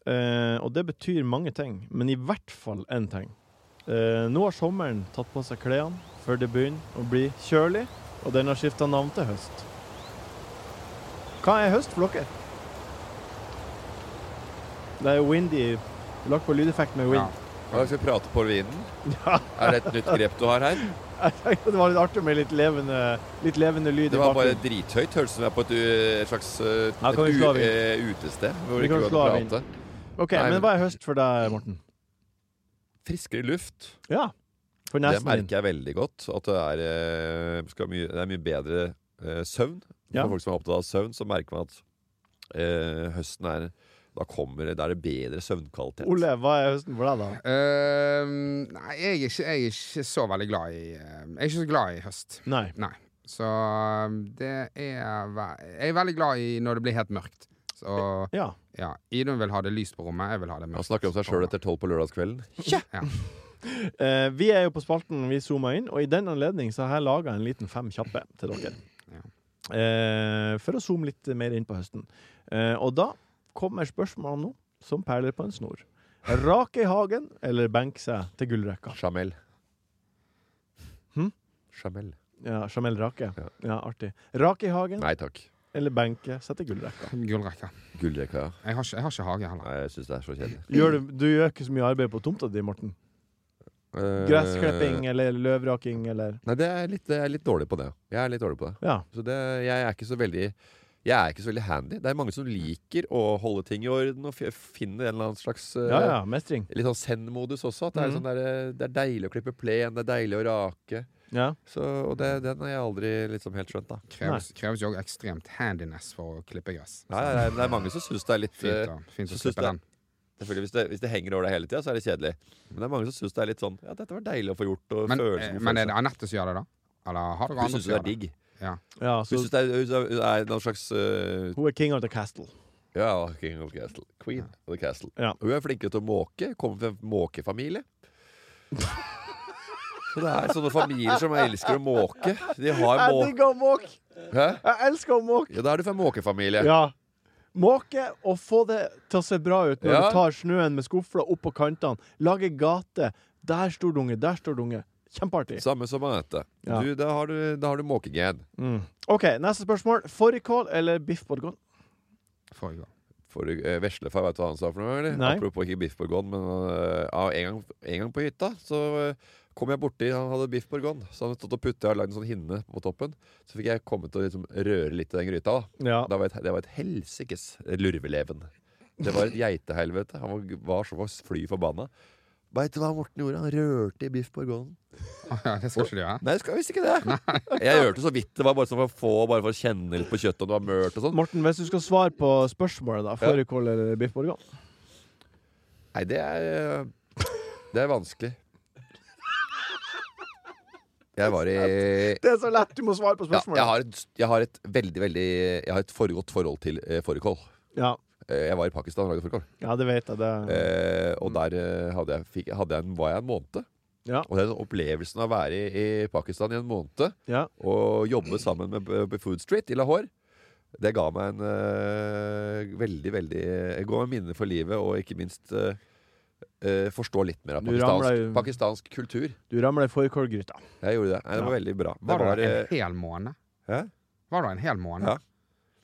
eh, og det betyr mange ting, men i hvert fall én ting. Eh, nå har sommeren tatt på seg klærne før det begynner å bli kjølig, og den har skifta navn til høst. Hva er høst for dere? Det er jo windy. Lagt på lydeffekt med wind. Ja. Hva skal vi prate på vinen? Ja. [laughs] Er det et nytt grep du har [laughs] her? Jeg tenkte det var litt artig med litt levende, litt levende lyd Det i var bare bakgrunnen. drithøyt. Hørtes ut som jeg er på et, u- et slags uh, Ja, kan et vi slå av u- inn? eh, utested. Hvor Vi det kan ikke går slå av an å inn. prate. Ok, Nei, Men men- hva er høst for deg, Morten? Friskere luft. Ja. For Det nesen din. merker jeg veldig godt. At det er, eh, skal mye, det er mye bedre eh, søvn. Ja. For folk som er opptatt av søvn, så merker man at eh, høsten er Da kommer det, da er det bedre søvnkvalitet. Ole, hva er høsten for deg, da? Øhm, Ehm, nei, jeg er, ikke, jeg er ikke så veldig glad i øhm, Jeg er ikke så glad i høst. Nei. Nei. Så øhm, det er ve- Jeg er veldig glad i når det blir helt mørkt. Så Ja. ja, Idun vil ha det lyst på rommet, jeg vil ha det mørkt. Han snakker om seg sjøl etter tolv på lørdagskvelden. Ja. Eh, vi er jo på spalten Vi zooma inn, og i den anledning så har jeg laga en liten fem kjappe til dere. Eh, for å zoome litt mer inn på høsten. Eh, og da kommer spørsmålene nå, som perler på en snor. Rake i hagen eller benke seg til gullrekka? Jamel. Hm? Jamel. Ja, Jamel Rake. Ja. Ja, artig. Rake i hagen Nei takk. eller benke seg til gullrekka? Gullrekka. Gullrekka, ja. Jeg har, ikke, jeg har ikke hage heller. Nei, jeg syns det er så kjedelig. Gjør du, du gjør ikke så mye arbeid på tomta di, Morten? Eh, Gressklipping eller løvraking eller Nei, det er litt, jeg er litt dårlig på det. Jeg er litt dårlig på det. Ja. Så det, jeg er ikke så veldig jeg er ikke så veldig handy. Det er mange som liker å holde ting i orden og fi- finne en eller annen slags eh, Ja, ja. Mestring. Litt sånn zen-modus også. At det, er Mhm. sånn der, eh, det er deilig å klippe plen, det er deilig å rake. Ja. Så, og det, den har jeg aldri liksom helt skjønt, da. Kreves, kreves jo også ekstremt handiness for å klippe gress. Nei, nei, nei, men det er mange som syns det er litt eh, Fint, å- fint så å synes slippe jeg- den. Selvfølgelig, hvis det, hvis det henger over deg hele tida, så er det kjedelig. Men det er mange som syns det er litt sånn Ja, dette var deilig å få gjort. Og Men, følelsen, eh, men er det Anette som gjør det, da? Eller har dere Hun syns andre som det gjør er det? digg. ja Hun så syns det er, hun er, er noen slags eh, hun er king of the castle. Ja, King of the Castle. Queen of the Castle. Ja. Og Hun er flinkere til å måke. Kommer fra en måkefamilie. Så det er sånne familier som elsker å måke. De har Jeg måke... digger å måke! Hæ? Jeg elsker å måke! Ja, da er du fra en måkefamilie. Ja. Måke og få det til å se bra ut når Ja. du tar snøen med skufla opp på kantene. Lage gate. Der står det unge, der står det unge. Kjempeartig. Samme som Anette. Ja. Du, Da har du, da har du måkegen. Mm. OK, neste spørsmål. Fårikål eller biff bourgogne? Forrige år. For, eh, Veslefar, vet du hva han sa for noe? eller? Nei. Apropos ikke biff bourgogne, men eh, ja, en, gang, en gang på hytta så eh, kom jeg borti Han hadde biff bourgogne, så han hadde stått og puttet og lagd en sånn hinne på toppen. Så fikk jeg komme til å liksom, røre litt i den gryta. da Ja. Det var et, det var et helsikes lurveleven. Det var et geitehelvete. Han var, var så var fly forbanna. Veit du hva Morten gjorde? Han rørte i biff bourgogne. Ja, det skal ikke du gjøre. Nei, jeg skal visst ikke det. [laughs] Jeg rørte så vidt. Det var bare sånn for å få Bare for å kjenne litt på kjøttet om det var mørt og sånn. Morten, hvis du skal svare på spørsmålet, da. Fårikål eller biff bourgogne? Nei, det er eh, Det er vanskelig. Jeg var i ja, Det er så lett! Du må svare på jeg, spørsmålet. har et, jeg har et veldig, veldig Jeg har et for godt forhold til eh, fårikål. Ja, Eh, Jeg var i Pakistan og lagde fårikål. ja det vet jeg. Det. Eh, og der eh, hadde jeg, fikk, hadde jeg en, var jeg en måned. Ja. Og den opplevelsen av å være i, i Pakistan i en måned Ja. og jobbe sammen med B- B- Food Street i Lahore, det ga meg en eh, veldig, veldig Det ga meg minner for livet, og ikke minst eh, eh, forstå litt mer av Du ramla pakistansk, jo- pakistansk kultur. Du ramler i fårikålgryta. Eh, Jeg gjorde det. Nei, det var veldig bra. Det Var var, det eh, en hel måned? Hæ? Var det en hel måned? Ja.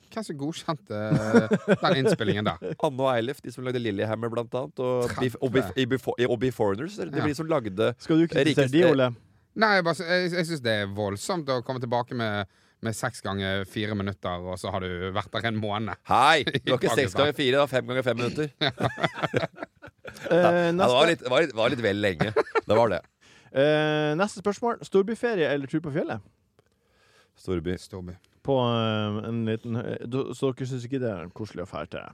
Hvem som godkjente eh, den innspillingen [laughs] der? eh, Anne og Eilif, de som lagde Lillehammer blant annet, og, Bef og, Bef i Befo- i- og Beforeigners. Det Ja. blir de som lagde Skal du kritisere Rikest- de, Eh, Ole? Eh, Nei, jeg, bare sy- jeg, jeg syns det er voldsomt å komme tilbake med, med seks ganger fire minutter, og så har du vært der en måned. Hei! Det var ikke seks ganger fire, det var fem ganger fem minutter. Eh, Ja, det, var neste, litt, det, var litt, det var litt vel [laughs] lenge. Det var det. eh, neste spørsmål. Storbyferie eller tur på fjellet? Storby. Storby. På eh, en liten eh, du- Så dere syns ikke det er koselig å fære til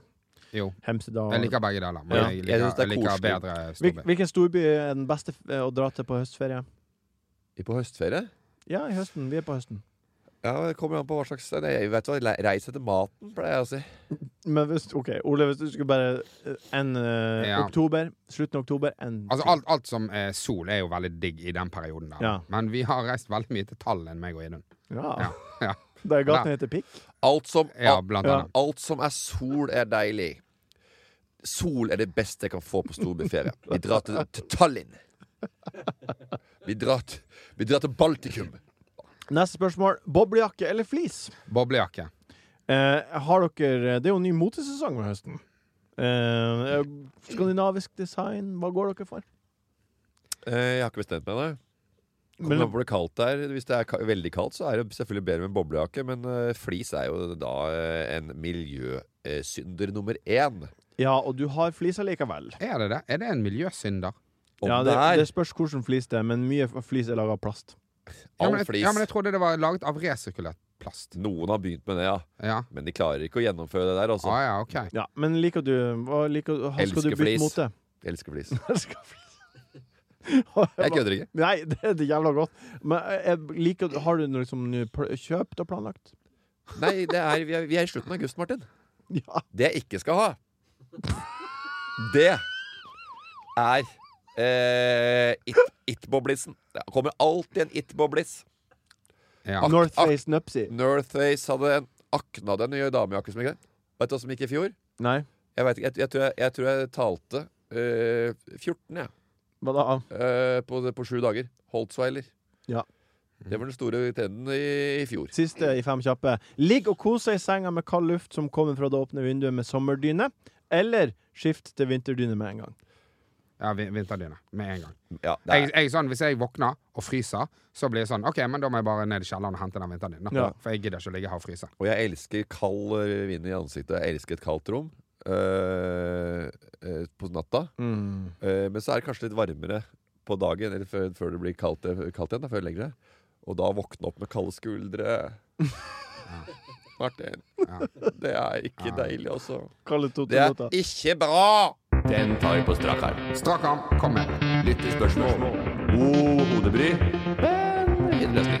Jo. Hemsedal? Jeg liker begge deler, men Ja. jeg Jeg liker, synes det er jeg liker koselig. bedre Hvil- Storby. Hvilken storby er den beste f- eh, å dra til på høstferie? På høstferie? Ja, i høsten. Vi er på høsten. Ja, Det kommer an på hva slags Nei, jeg vet hva, le- Reis etter maten, pleier jeg å si. Men hvis, ok, Ole, hvis du skulle bare eh, en eh, Ja. oktober, slutten av oktober en, Altså alt, alt som er sol, er jo veldig digg i den perioden der. Ja. Men vi har reist veldig mye til Tallinn, meg og Idun. ja. Ja. Ja. Der gaten heter Pikk? Alt som, ja, alt, blant Ja. annet. alt som er sol, er deilig. Sol er det beste jeg kan få på storbyferie. Vi drar til, til Tallinn. Vi drar, til- vi drar til Baltikum. Neste spørsmål. Boblejakke eller flis? Boblejakke. Eh, har dere Det er jo en ny motesesong med høsten. Eh, skandinavisk design, hva går dere for? Eh, Jeg har ikke bestemt meg ennå. Kommer Men- an på hvor det er kaldt det er. Hvis det er ka veldig kaldt, så er det selvfølgelig bedre med en boblejakke, men eh, flis er jo da eh, en miljøsynder nummer én. Ja, og du har flis allikevel. Er det det? Er det en miljøsynder? Om Ja, det, det, er det spørs hvordan flis det er, men mye f- flis er laga av plast. Ja, all men jeg, flis. ja, men jeg trodde det var laget av resirkulert plast. Noen har begynt med det, ja. Ja. Men de klarer ikke å gjennomføre det der, altså. Ah, ja, ok. Ja, Men liker du hva liker, hva Skal Elsker du bytte flis. mote? Jeg elsker [laughs] flis. Elsker flis. [laughs] Jeg kødder ikke. [laughs] Nei, det er det jævla godt. Men eh, liker, du- har du noe liksom nå pl- kjøpt og planlagt? Nei, det er, vi, er, vi er i slutten av august, Martin. Ja. Det jeg ikke skal ha, [laughs] det er eh, it- It-boblisen. det kommer alltid en It-boblis. Ja. Northface Nupsi. Northface hadde en akna den nye damejakke som gikk der. Vet du hva som gikk i fjor? Nei, Jeg, vet, ikke, jeg, jeg, tror, jeg, jeg tror jeg talte eh, 14, jeg. hva da? eh, på, på sju dager. Holtzweiler. Ja. Det var den store trenden i, i fjor. Siste i Fem kjappe. Ligg og kos deg i senga med kald luft som kommer fra det åpne vinduet med sommerdyne, eller skift til vinterdyne med en gang. ja vi- Vinterdyne. Med en gang. Ja, det Jeg, er, jeg, sånn, hvis jeg våkner og fryser, så blir det sånn OK, men da må jeg bare ned i kjelleren og hente den vinterdynen. Ja. For jeg gidder ikke å ligge her og fryse. og jeg elsker kald eh, vind i ansiktet. Jeg elsker et kaldt rom eh, eh, på natta. Eh, men så er det kanskje litt varmere på dagen, eller før, før det blir kaldt, eh, kaldt igjen. Da, før det legger seg. Og da våkne opp med kalde skuldre. [laughs] Martin. Det er ikke deilig, altså. Kalle to Det er Toyota. ikke bra! Den tar vi på strak arm. Strak arm, kom med. Lyttespørsmål. God hodebry, men ingen løsning.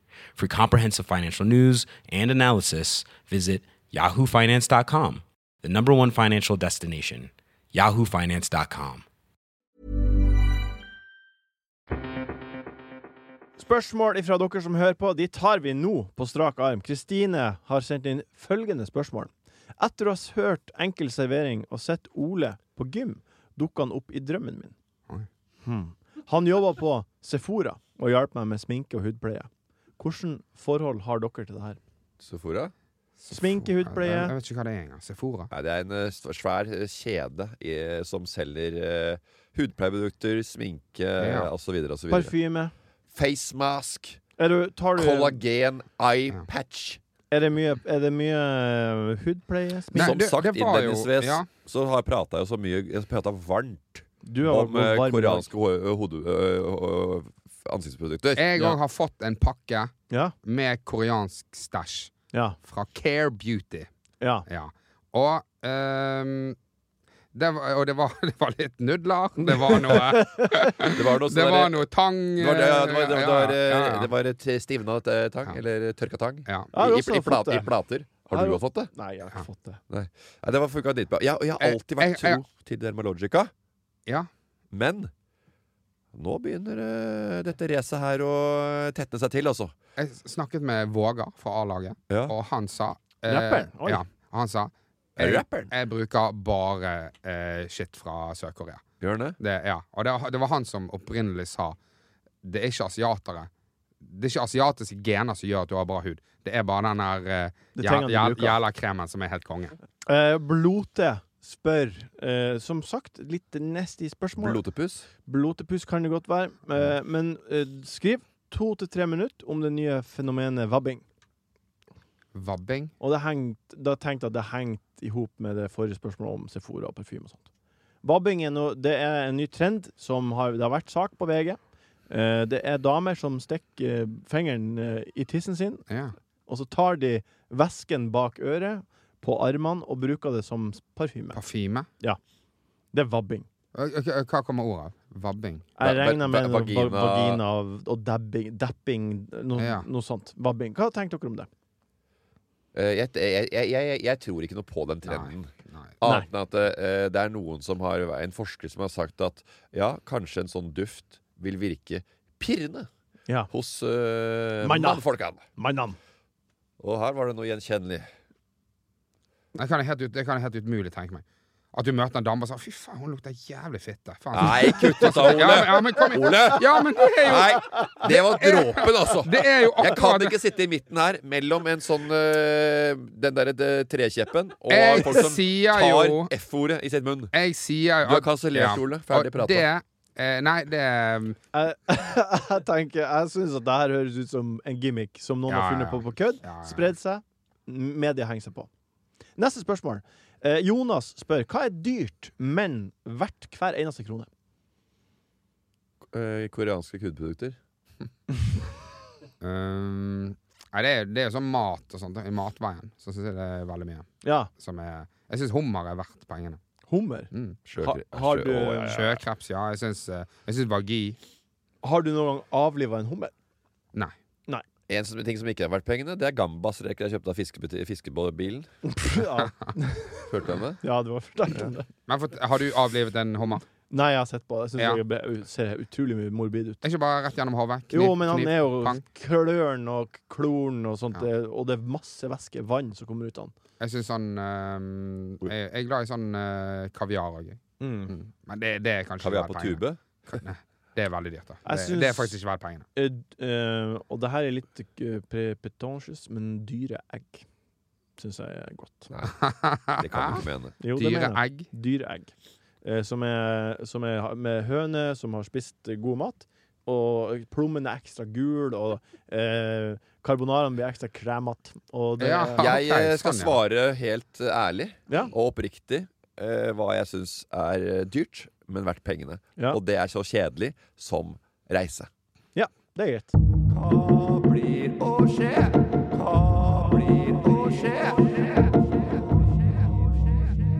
For comprehensive financial news and analysis, visit yahoofinance.com, the number one financial destination, yahoofinance.com. Spørsmål ifra dere som hører på, de tar vi nå på strak arm. Kristine har sendt inn følgende spørsmål. Etter å ha hørt Enkel servering og sett Ole på gym, dukka han opp i drømmen min. Hmm. Han jobba på Sephora og hjalp meg med sminke og hudpleie. Hvilket forhold har dere til det her? Sofora? Sminke, hudpleie. Jeg, jeg vet ikke hva det er engang. Sefora. Nei, det er en eh, st- svær eh, kjede i, som selger eh, hudpleieprodukter, sminke Ja. og osv. osv. Parfyme. Facemask, Er du, tar du kollagen, eye patch. Er det mye, er det mye eh, hudpleie? Nei, Som det- sagt, det var jo- innledningsvis ja. så har prata jeg så mye Jeg prata varmt Du har om eh, gått varm i dag. koreanske ho hode, øh, øh, ansiktsprodukter. Jeg Ja. òg har fått en pakke Ja. med koreansk stæsj Ja. fra Care Beauty. ja. Ja. Og, ehm, det var, og det, var, [laughs] det var litt nudler, det [laughs] var noe, Det var noe det var sånn der- noe tang det var- ja, det var- det var- eh, ja, ja, ja. det var et stivna eh, tang, Ja. eller tørka tang. Ja. Ja, I, du i, også har i, fått plat, I det. plater. Har Har du du- også fått det? Nei, jeg har ikke fått det. Nei, det var funka dritbra. Jeg, jeg har Jeg- alltid vært jeg- jeg- tro til Dermalogica, Ja. men nå begynner eh, dette racet her å tetne seg til, altså. Jeg snakket med Vågar fra A-laget, Ja. og han sa eh, Rapperen? Oi. Ja, han sa Er jeg, rapperen? jeg bruker bare eh, shit fra Sør-Korea. Gjør den det? Det, ja. Og det, det var han som opprinnelig sa Det er ikke asiatere Det er ikke asiatiske gener som gjør at du har bra hud. Det er bare den her eh, Det jæ- trenger du jæ- bruker. jævla kremen som er helt konge. Eh, blote spør, eh, som sagt, litt nasty spørsmål. Blotepus? Blotepus kan det godt være. eh, men eh, skriv to til tre minutter om det nye fenomenet vabbing. Vabbing. Og det hengt, da tenkte jeg at det hengte i hop med det forrige spørsmålet om Sephora og parfyme og sånt. Vabbing er, noe- det er en ny trend som har, det har vært sak på VG. Eh, det er damer som stikker eh, fingeren eh, i tissen sin, Ja. og så tar de væsken bak øret på armene og bruker det som parfyme. Parfyme. Det er vabbing. Ø- ø- Hva kommer ordet av? Vabbing. Jeg Va- va- regner med va- noe vagina, vagina- vagina og- og dabbing, dapping, noe, Ja. noe sånt. Vabbing. Hva tenkte dere om det? Eh, Jeg, jeg, jeg, jeg, jeg tror ikke noe på den trenden. Nei. Annet enn at eh, det er noen som har En forsker som har sagt at ja, kanskje en sånn duft vil virke pirrende Ja. hos eh, Manna. mannfolkene. Mannan. Og her var det noe [laughs] gjenkjennelig. Det kan jeg helt, ut, det kan jeg helt umulig tenke meg. At du møter en dame og sier 'fy faen, hun lukter jævlig fitte'. Faen. Nei, kutt ut da, Ja, men, ja, Ole! men kom [laughs] igjen. Ole! Ja, men det er jo, Nei, det var dråpen, altså. det er jo Jeg kan akkurat ikke sitte i midten her mellom en sånn eh, den derre eh, trekjeppen og Jeg folk som sier tar jo- F-ordet i sin munn. Jeg sier jo Du har at- kansellert, Ole. Ferdig Og prata. Det, eh, nei, det er Jeg, [laughs] jeg tenker, jeg syns at det her høres ut som en gimmick som noen Ja, har ja, funnet ja. på på kødd. Ja, ja. Spredd seg. M- Media henger seg på. Neste spørsmål. Eh, Jonas spør hva er dyrt, men verdt hver eneste krone? Eh, koreanske hudprodukter. Um, Nei, det er, det er jo sånn mat og sånt. I matveien så syns jeg det er veldig mye. Ja, Som er, jeg syns hummer er verdt pengene. hummer. Mm. Ha, Sjøkre- har, sjø- du, Å, ja, ja. Sjøkreps, ja. Jeg syns, eh, jeg syns vagi har du noen gang avliva en hummer? [laughs] Nei. En som, ting som ikke er verdt pengene, det er gambasreker jeg kjøpte av fiskebeti- fiskebåtbilen. ja, Hørte du om det? ja, du har fortalt om det. Men for, har du avlivet en hummer? Nei, jeg har sett på det. Jeg syns Ja. det ble- ser utrolig mye morbid ut. Er ikke bare rett gjennom hodet? Kniv- Jo, men han kniv, er jo pang. klørn og klorn og sånt, Ja. det- og det er masse væske, vann, som kommer ut av han. Jeg syns sånn um, jeg, jeg er glad i sånn eh, kaviar òg. Mm. Men det, det er kanskje Kaviar på ikke verdt pengene. tube. Nei, Det er veldig dyrt, da. Jeg Det, syns- det er faktisk ikke verdt pengene. Eh, d- eh, og det her er litt eh, pretentious, men dyre egg syns jeg er godt. Det kan du [laughs] ikke mene. Jo, det Dyre mener jeg. egg. Dyre egg. Eh, som er, som er ha- med høne som har spist eh, god mat, og plommen er ekstra gul, og eh, carbonaraen blir ekstra kremete. Og det Ja. ja. Jeg eh, skal sånn, ja. svare helt eh, ærlig Ja. og oppriktig eh, hva jeg syns er eh, dyrt, men verdt pengene. Ja. Og det er så kjedelig som reise. det er greit. Hva blir å skje? Hva blir å skje?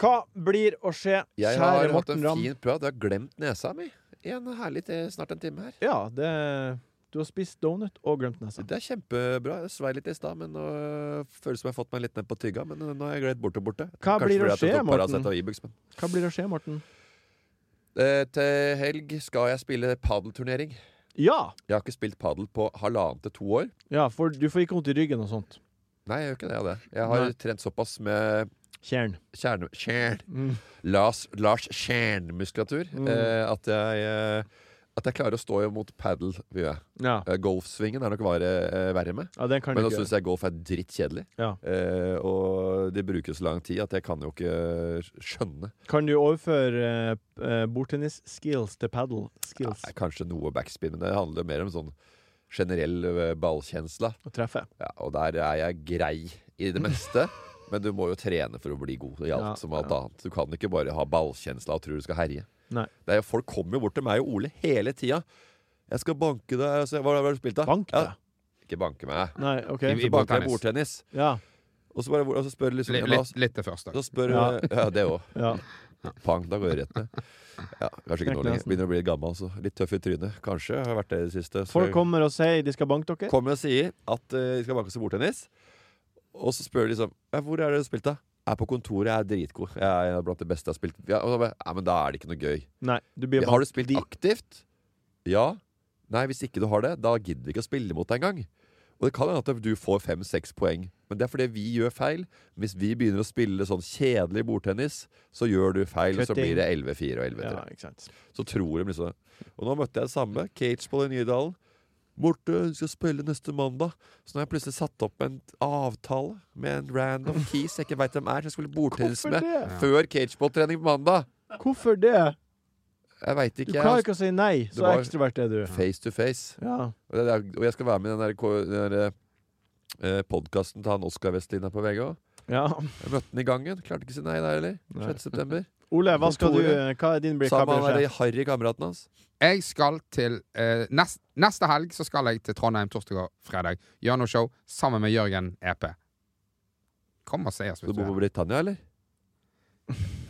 Hva blir å skje, Jeg kjære har hatt en Morten Ramm? fin prat. Jeg har glemt nesa mi i en herlig eh, snart en time her. Ja, det Du har spist donut og glemt nesa. Det er kjempebra. Jeg svei litt i stad, men nå øh, føles det som jeg har fått meg litt ned på tygga. Men øh, nå har jeg gledet bort og borte. Hva blir det å fordi at jeg skje, tok Morten? Paracet og Ibux, men. Hva blir å skje, Morten? Eh, til helg skal jeg spille padelturnering. Ja! Jeg har ikke spilt padel på halvannet til to år. ja for du får ikke vondt i ryggen og sånt. Nei, jeg gjør ikke det. av det. Jeg har Nei. trent såpass med Tjern. kjerne... Kjern. Mm. Lars, Lars Kjern-muskulatur eh, at, jeg, eh, at jeg klarer å stå imot padel. vil jeg. Ja. Eh, golfsvingen er nok verre, eh, verre med. ja, den kan Men altså du ikke nå syns gjøre. jeg golf er drittkjedelig. Ja. Eh, og det bruker så lang tid at jeg kan jo ikke skjønne. Kan du overføre eh, p- eh, bordtennis-skills til padel skills? Nei, kanskje noe backspin, men det handler mer om sånn generell eh, ballkjensle. Å treffe. Ja, og der er jeg grei i det meste. Men du må jo trene for å bli god i alt Ja, som alt ja. annet. Du kan ikke bare ha ballkjensla og tro du skal herje. Nei. Det er jo, folk kommer jo bort til meg og Ole hele tida. 'Jeg skal banke deg.' Så, jeg- hva har du spilt, da? Bank Ja, deg. ikke banke meg. Nei, OK. I- Så i banker jeg bordtennis. bordtennis. Ja. Og så, bare, og så spør liksom ja, Litt, litt, da- litt det første. Så spør Ja. [laughs] ja, det òg. ja. Pang, da går jeg rett ned. Ja, kanskje ikke nå Knekk lenger. nesen. Begynner å bli litt gammel, så litt tøff i trynet. Kanskje. Har vært det i det siste. Så- Folk kommer og sier de skal banke dere. kommer og sier at eh, de skal banke seg bordtennis. Og så spør de liksom ja, 'Hvor er det du spilt, da?' 'Jeg er på kontoret, jeg er dritgod. Jeg er blant de beste jeg har spilt.' Ja, og så bare, ja, men da er det ikke noe gøy. Nei, du blir har du spilt de- aktivt? Ja. Nei, hvis ikke du har det, da gidder vi ikke å spille mot deg engang. Og det kan hende at du får fem-seks poeng, men det er fordi vi gjør feil. Hvis vi begynner å spille sånn kjedelig bordtennis, så gjør du feil, og så Cutting. blir det 11-4 og 11-3. Ja, ikke sant. Så tror de liksom det. Og nå møtte jeg det samme. Cagepole i Nydalen. Morte, hun skal spille neste mandag. Så nå har jeg plutselig satt opp en avtale med en random keys jeg ikke veit hvem er, som jeg skulle bordtennis Hvorfor med det? før cageball-trening på mandag. Hvorfor det? Jeg veit Du ikke. klarer Jeg altså. ikke å si nei. Det Så var- ekstrovert er du. face to face. Ja. Og, det er, og jeg skal være med i den der, ko- den der eh, podkasten til han Oskar Westlin her på VG òg. ja. Jeg møtte han i gangen. Klarte ikke å si nei der heller. 6. september. Ole, hva skal du eh, Kontoret. Hva er din blikk? Sammen med Hva han blir derre det? harry kameraten hans. Jeg skal til eh, nest, Neste helg så skal jeg til Trondheim torsdag og fredag. Gjør noe show sammen med Jørgen EP. Kom og se oss. Du hvis du bor på er- Britannia, eller?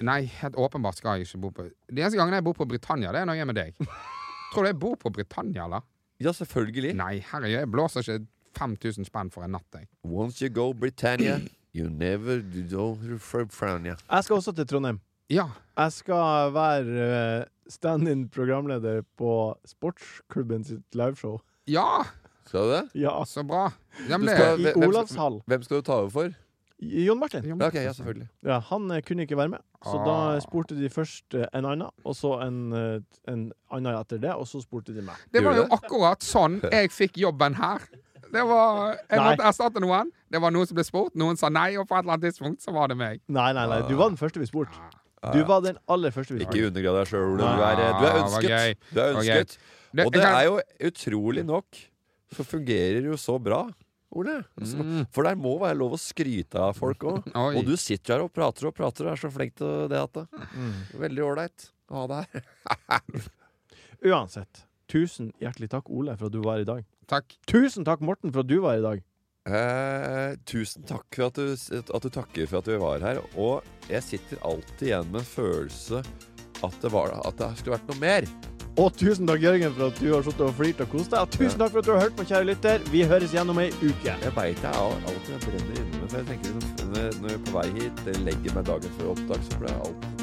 Nei, helt åpenbart skal jeg ikke bo på De eneste gangene jeg bor på Britannia, det er når jeg er med [laughs] deg. Tror du jeg bor på Britannia, eller? Ja, selvfølgelig. Nei, herregud, jeg blåser ikke 5000 spenn for en natt, jeg. Once you go Britannia, you never you go from Frania. Jeg skal også til Trondheim. Ja. Jeg skal være eh, stand-in programleder på sportsklubben sitt liveshow. Ja! Skal du det? Ja, Så bra. Ja, men Du det skal- I hvem- hvem- Olavshall. Hvem skal du ta over for? Jon Martin. Jo, Ja, men- ok, ja, selvfølgelig. Ja, han eh, kunne ikke være med, så Ah. da spurte de først eh, en annen, og så en, eh, en annen etter det, og så spurte de meg. Det var Gjorde jo akkurat sånn [laughs] jeg fikk jobben her. Det var, jeg Nei. måtte erstatte noen. Det var noen som ble spurt, noen sa nei, og på et eller annet tidspunkt så var det meg. Nei, nei, nei, du var den første vi spurte. Du var den aller første vi Ikke spurte. undergrav deg sjøl, Ole. Du er, du er Ah, var gøy. ønsket. Du er Var ønsket. Det- Og jeg det kan- er jo utrolig nok så fungerer det jo så bra, Ole. Så- For der må være lov å skryte av folk òg. [laughs] Oi. Og du sitter her og prater og prater og er så flink til det at det. Veldig ålreit å ha deg her. Uansett, tusen hjertelig takk, Ole, for at du var her i dag. Takk. Tusen takk, Morten, for at du var her i dag. Eh, tusen takk for at du, at du takker for at du var her. Og jeg sitter alltid igjen med en følelse at det, var, at det skulle vært noe mer. Og tusen takk, Jørgen, for at du har sittet og flirt og kost deg. Og tusen takk for at du har hørt på, kjære lytter. Vi høres igjen om ei uke. Jeg veit jeg al- alltid jeg brenner inne, men jeg tenker liksom, når jeg- når jeg er på vei hit eller legger meg dagen før opptak, så blir jeg alltid